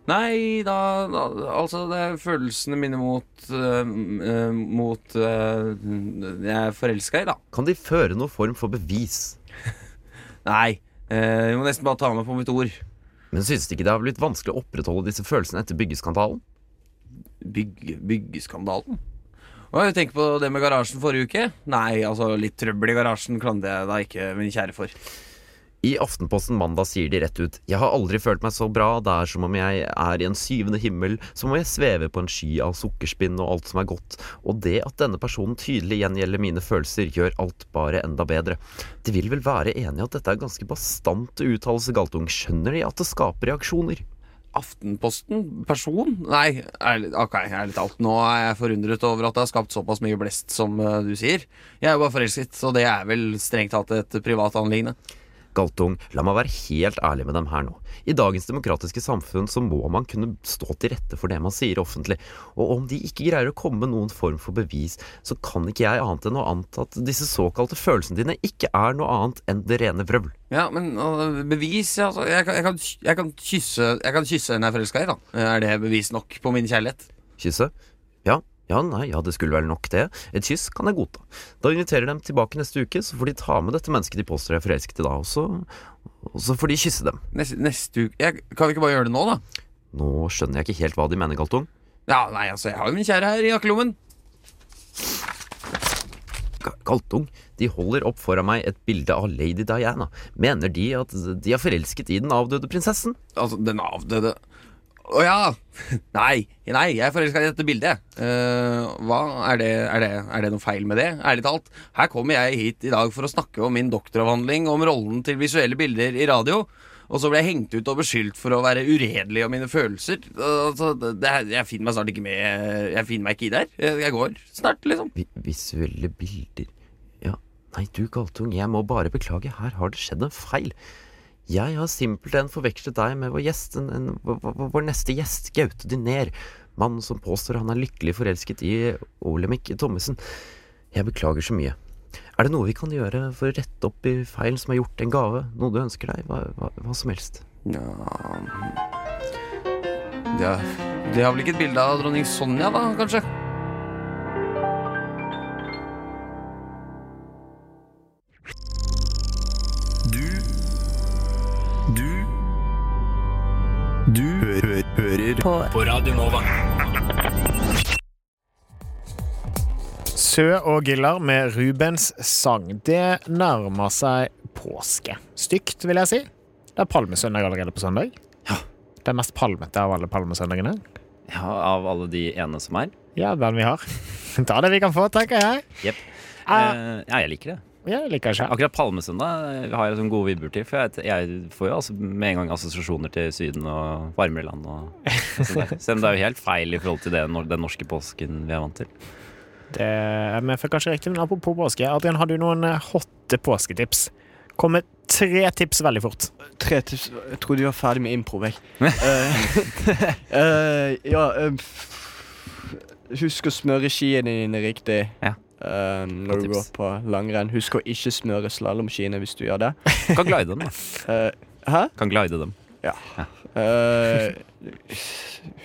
Speaker 7: Nei, da, da Altså, det er følelsene mine mot eh, m- eh, Mot eh, Jeg er forelska i, da.
Speaker 2: Kan de føre noen form for bevis?
Speaker 7: Nei. eh, Jeg må nesten bare ta meg på mitt ord.
Speaker 2: Men synes de ikke det har blitt vanskelig å opprettholde disse følelsene etter byggeskandalen?
Speaker 7: Bygge, byggeskandalen. Og jeg tenker på det med garasjen forrige uke. Nei, altså litt trøbbel i garasjen klandrer jeg da ikke min kjære for.
Speaker 2: I Aftenposten mandag sier de rett ut Jeg har aldri følt meg så bra, det er som om jeg er i en syvende himmel, som om jeg svever på en sky av sukkerspinn og alt som er godt, og det at denne personen tydelig gjengjelder mine følelser, gjør alt bare enda bedre. De vil vel være enige at dette er ganske bastante uttalelser, Galtung, skjønner de at det skaper reaksjoner?
Speaker 7: Aftenposten? Person? Nei, ærlig, ok, ærlig talt. Nå er jeg forundret over at det har skapt såpass mye blest som eh, du sier. Jeg er jo bare forelsket, og det er vel strengt tatt et privat anliggende.
Speaker 2: Galtung, la meg være helt ærlig med dem her nå. I dagens demokratiske samfunn så må man kunne stå til rette for det man sier offentlig, og om de ikke greier å komme med noen form for bevis, så kan ikke jeg annet enn å anta at disse såkalte følelsene dine ikke er noe annet enn det rene vrøvl.
Speaker 7: Ja, men øh, bevis ja, altså, jeg, kan, jeg, kan, jeg, kan kysse, jeg kan kysse en jeg er forelska i, da. Er det bevis nok på min kjærlighet?
Speaker 2: Kysse? Ja, ja, nei, ja, det skulle vel nok det. Et kyss kan jeg godta. Da inviterer jeg dem tilbake neste uke, så får de ta med dette mennesket de påstår er forelsket i da, og så, og så får de kysse dem.
Speaker 7: Neste, neste uke jeg, Kan vi ikke bare gjøre det nå, da?
Speaker 2: Nå skjønner jeg ikke helt hva de mener, Galtung.
Speaker 7: Ja, nei, altså, jeg har jo min kjære her i jakkelommen.
Speaker 2: Ga- Galtung, de holder opp foran meg et bilde av lady Diana. Mener de at de er forelsket i den avdøde prinsessen?
Speaker 7: Altså, den avdøde Å ja! (laughs) Nei, nei, jeg er forelska i dette bildet. Eh, hva? Er det, er, det, er det noe feil med det? Ærlig talt. Her kommer jeg hit i dag for å snakke om min doktoravhandling om rollen til visuelle bilder i radio. Og så ble jeg hengt ut og beskyldt for å være uredelig om mine følelser. Altså, det, det- jeg finner meg snart ikke med Jeg finner meg ikke i det her. Jeg- Jeg går snart, liksom.
Speaker 2: Vi visuelle bilder Ja, nei du Galtung, jeg må bare beklage, her har det skjedd en feil. Jeg har simpelthen forvekslet deg med vår gjest, en, en, vår, vår- vår neste gjest, Gaute Dynér. Mannen som påstår han er lykkelig forelsket i Olemic Thommessen. Jeg beklager så mye. Er det noe vi kan gjøre for å rette opp i feil som er gjort, en gave, noe du ønsker deg, hva, hva, hva som helst?
Speaker 7: Ja Det er, det er vel ikke et bilde av dronning Sonja, da, kanskje?
Speaker 8: Du Du Du hø hø hører på. Radio Nova.
Speaker 4: Sø og Giller med Rubens sang. Det nærmer seg påske. Stygt, vil jeg si. Det er palmesøndag allerede på søndag. Det er mest palmete av alle palmesøndagene.
Speaker 2: Ja, av alle de ene som er.
Speaker 4: Ja, den vi har. (laughs) Ta det vi kan få, tenker jeg.
Speaker 2: Jepp.
Speaker 4: Ah.
Speaker 2: Eh, ja, jeg liker det.
Speaker 4: Jeg liker ikke.
Speaker 2: Akkurat Palmesøndag har jeg sånn gode vibber til. For jeg, jeg får jo altså med en gang assosiasjoner til Syden og varmere land. Og, og sånt der. Selv om det er jo helt feil i forhold til det, nor- den norske påsken vi er vant til.
Speaker 4: Det, eh, men for kanskje riktig, men apropos påske. Adrian, har du noen eh, hotte påsketips? Kom med tre tips veldig fort.
Speaker 1: Tre tips Jeg trodde vi var ferdig med improv,
Speaker 2: (laughs)
Speaker 1: jeg. Eh, eh, ja eh, f- Husk å smøre skiene dine riktig.
Speaker 2: Ja.
Speaker 1: eh, når
Speaker 2: Godt
Speaker 1: du går
Speaker 2: tips.
Speaker 1: på langrenn. Husk å ikke smøre slalåmskiene hvis du gjør det.
Speaker 2: Kan glide dem, da.
Speaker 1: Eh, hæ?
Speaker 2: Kan glide dem.
Speaker 1: Eh,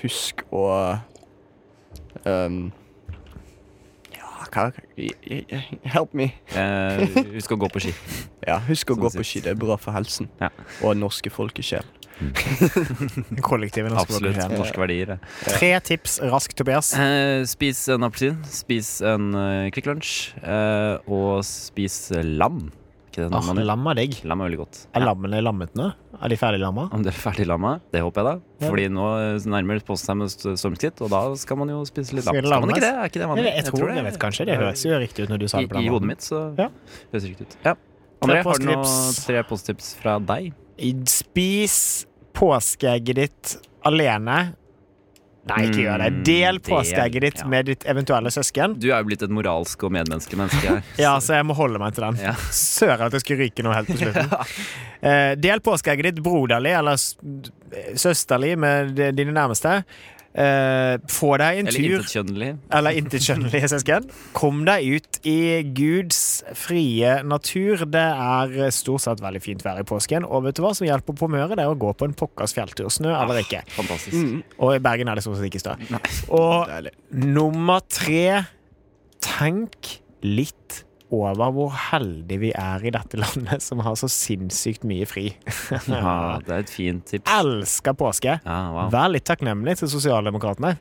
Speaker 1: husk å ehm, Ja, hva i- i- i- Help me.
Speaker 2: Eh, husk å gå på ski.
Speaker 1: Ja, husk å
Speaker 2: Som
Speaker 1: gå på
Speaker 2: sist.
Speaker 1: ski. Det er bra for helsen.
Speaker 2: Ja.
Speaker 1: Og norske folkesjel.
Speaker 4: Kollektivet. nå skal vi
Speaker 2: Absolutt.
Speaker 4: gå på
Speaker 2: Norske verdier. det.
Speaker 4: kjell. Tre tips raskt, Tobias.
Speaker 2: Eh, spis en appelsin. Spis en eh, Kvikk Lunsj. Eh, og spis lam. Ikke det
Speaker 4: Ah,
Speaker 2: navnet?
Speaker 4: lam er digg.
Speaker 2: lam er veldig godt.
Speaker 4: Er lammene lammet nå? Er de ferdig lamma?
Speaker 2: Om dere er ferdig lamma, det håper jeg da.
Speaker 4: Ja.
Speaker 2: Fordi nå eh, nærmer påsken seg med st- stormskritt, og da skal man jo spise litt lam.
Speaker 4: Skal det
Speaker 2: Skal man ikke
Speaker 4: lammes?
Speaker 2: det? Er ikke det vanlig?
Speaker 4: Jeg, jeg tror jeg vet kanskje. Det høres jo riktig ut når du sa
Speaker 2: I,
Speaker 4: det. på den
Speaker 2: I
Speaker 4: måten.
Speaker 2: hodet mitt så
Speaker 4: Ja.
Speaker 2: høres det riktig ut. Ja. André, har du noen
Speaker 4: påsketips.
Speaker 2: tre posttips fra deg?
Speaker 4: I- Spis påskeegget ditt alene. Nei, ikke gjør det.
Speaker 2: Mm,
Speaker 4: Del
Speaker 2: del,
Speaker 4: påskeegget ditt
Speaker 2: ja.
Speaker 4: med ditt eventuelle søsken.
Speaker 2: Du er jo blitt et moralsk og medmenneskelig menneske her.
Speaker 4: Ja, så jeg må holde meg til den.
Speaker 2: Ja.
Speaker 4: Søren at jeg skulle ryke noe helt
Speaker 2: (laughs)
Speaker 4: på slutten. Eh, del påskeegget ditt broderlig eller s- søsterlig med de- dine nærmeste. Eh, få deg (laughs) en
Speaker 2: Eller
Speaker 4: tur
Speaker 2: intetkjønnelig.
Speaker 4: eller intetkjønnelige søsken. Kom deg ut i Guds frie natur. Det er stort sett veldig fint vær i påsken. Og vet du hva som hjelper på humøret? Det er å gå på en pokkers fjelltur. Snø
Speaker 2: Ah.
Speaker 4: eller ikke.
Speaker 2: Fantastisk.
Speaker 4: Og i Bergen er det stort sett ikke snø. Og
Speaker 1: Deilig.
Speaker 4: nummer tre Tenk litt over hvor heldige vi er i dette landet som har så sinnssykt mye fri.
Speaker 2: Ja, det er et fint tips.
Speaker 4: (laughs) Elsker påske.
Speaker 2: Ja, wow.
Speaker 4: Vær litt takknemlig til sosialdemokratene.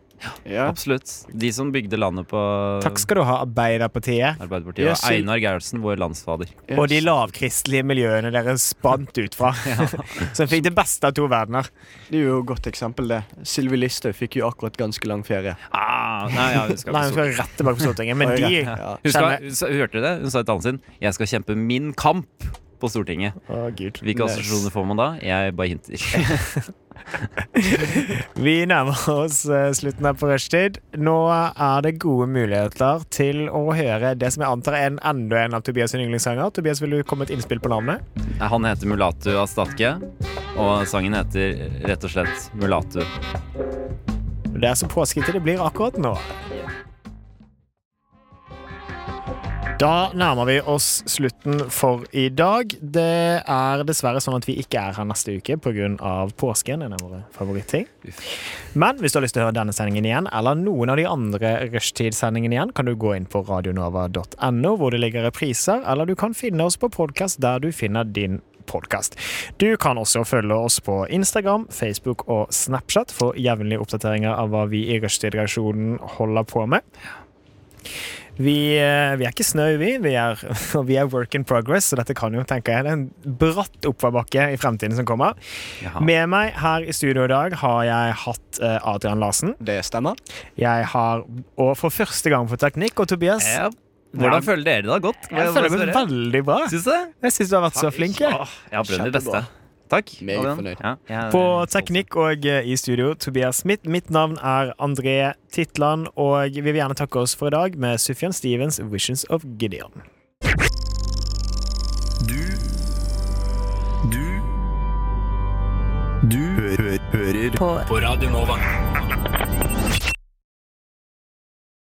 Speaker 1: Ja.
Speaker 2: Absolutt. De som bygde landet på
Speaker 4: Takk skal du ha, Arbeiderpartiet.
Speaker 2: Arbeiderpartiet.
Speaker 1: Jeg
Speaker 2: Og
Speaker 1: sy-
Speaker 2: Einar Gerhardsen, vår landsfader.
Speaker 1: Ja,
Speaker 4: Og de lavkristelige miljøene dere spant ut
Speaker 2: (laughs)
Speaker 4: fra. (laughs) Som fikk det beste av to verdener.
Speaker 1: Det er jo et godt eksempel, det. Sylvi Listhaug fikk jo akkurat ganske lang ferie.
Speaker 2: Ah, nei, ja, hun skal
Speaker 4: Nei,
Speaker 2: ikke så
Speaker 4: hun skal rett tilbake på Stortinget, men
Speaker 1: Oi,
Speaker 4: de
Speaker 1: ja.
Speaker 2: Hun skal,
Speaker 4: kjenner
Speaker 2: hun sa- hørte dere det? Hun sa et annet sin. Jeg skal kjempe min kamp på Stortinget.
Speaker 4: Å, Gud.
Speaker 2: Hvilke assosiasjoner får man da? Jeg bare hinter. (laughs)
Speaker 4: Vi nærmer oss eh, slutten her på rushtid. Nå er det gode muligheter til å høre det som jeg antar er en enda en av Tobias' sine yndlingssanger. Tobias, vil du komme med et innspill på navnet?
Speaker 2: Han heter Mulatu Astatke, og sangen heter rett og slett Mulatu.
Speaker 4: Det er så påskete det blir akkurat nå. Da nærmer vi oss slutten for i dag. Det er dessverre sånn at vi ikke er her neste uke pga. påsken. En av våre favorittting. Men hvis du har lyst til å høre denne sendingen igjen, eller noen av de andre rushtidssendingene igjen, kan du gå inn på radionova.no, hvor det ligger repriser, eller du kan finne oss på podkast der du finner din podkast. Du kan også følge oss på Instagram, Facebook og Snapchat for jevnlige oppdateringer av hva vi i Rushtid-redaksjonen holder på med. Vi, eh, vi er ikke snau, vi. Vi er, (laughs) og vi er work in progress, så dette kan jo, tenker jeg, det er en bratt oppoverbakke i fremtiden som kommer.
Speaker 2: Jaha.
Speaker 4: Med meg her i studio i dag har jeg hatt eh, Adrian Larsen.
Speaker 1: Det stemmer.
Speaker 4: Jeg har, og for første gang på teknikk, og Tobias,
Speaker 2: Ja. Hvordan føler dere det da? Godt?
Speaker 4: jeg føler meg veldig bra.
Speaker 2: Syns du det?
Speaker 4: Jeg syns du har vært så flink. jeg.
Speaker 2: Åh, Jeg har prøvd mitt beste.
Speaker 1: Kjempebra.
Speaker 2: Takk.
Speaker 1: Meget
Speaker 2: Adrian.
Speaker 1: fornøyd.
Speaker 2: Ja, jeg er
Speaker 4: På
Speaker 2: stolt.
Speaker 4: teknikk og eh, i studio, Tobias Smith. Mitt navn er André Titland, og vi vil gjerne takke oss for i dag med Sufjan Stevens' 'Visions of Gideon'.
Speaker 8: Du Du Du hø hø hører på. på Radio Nova.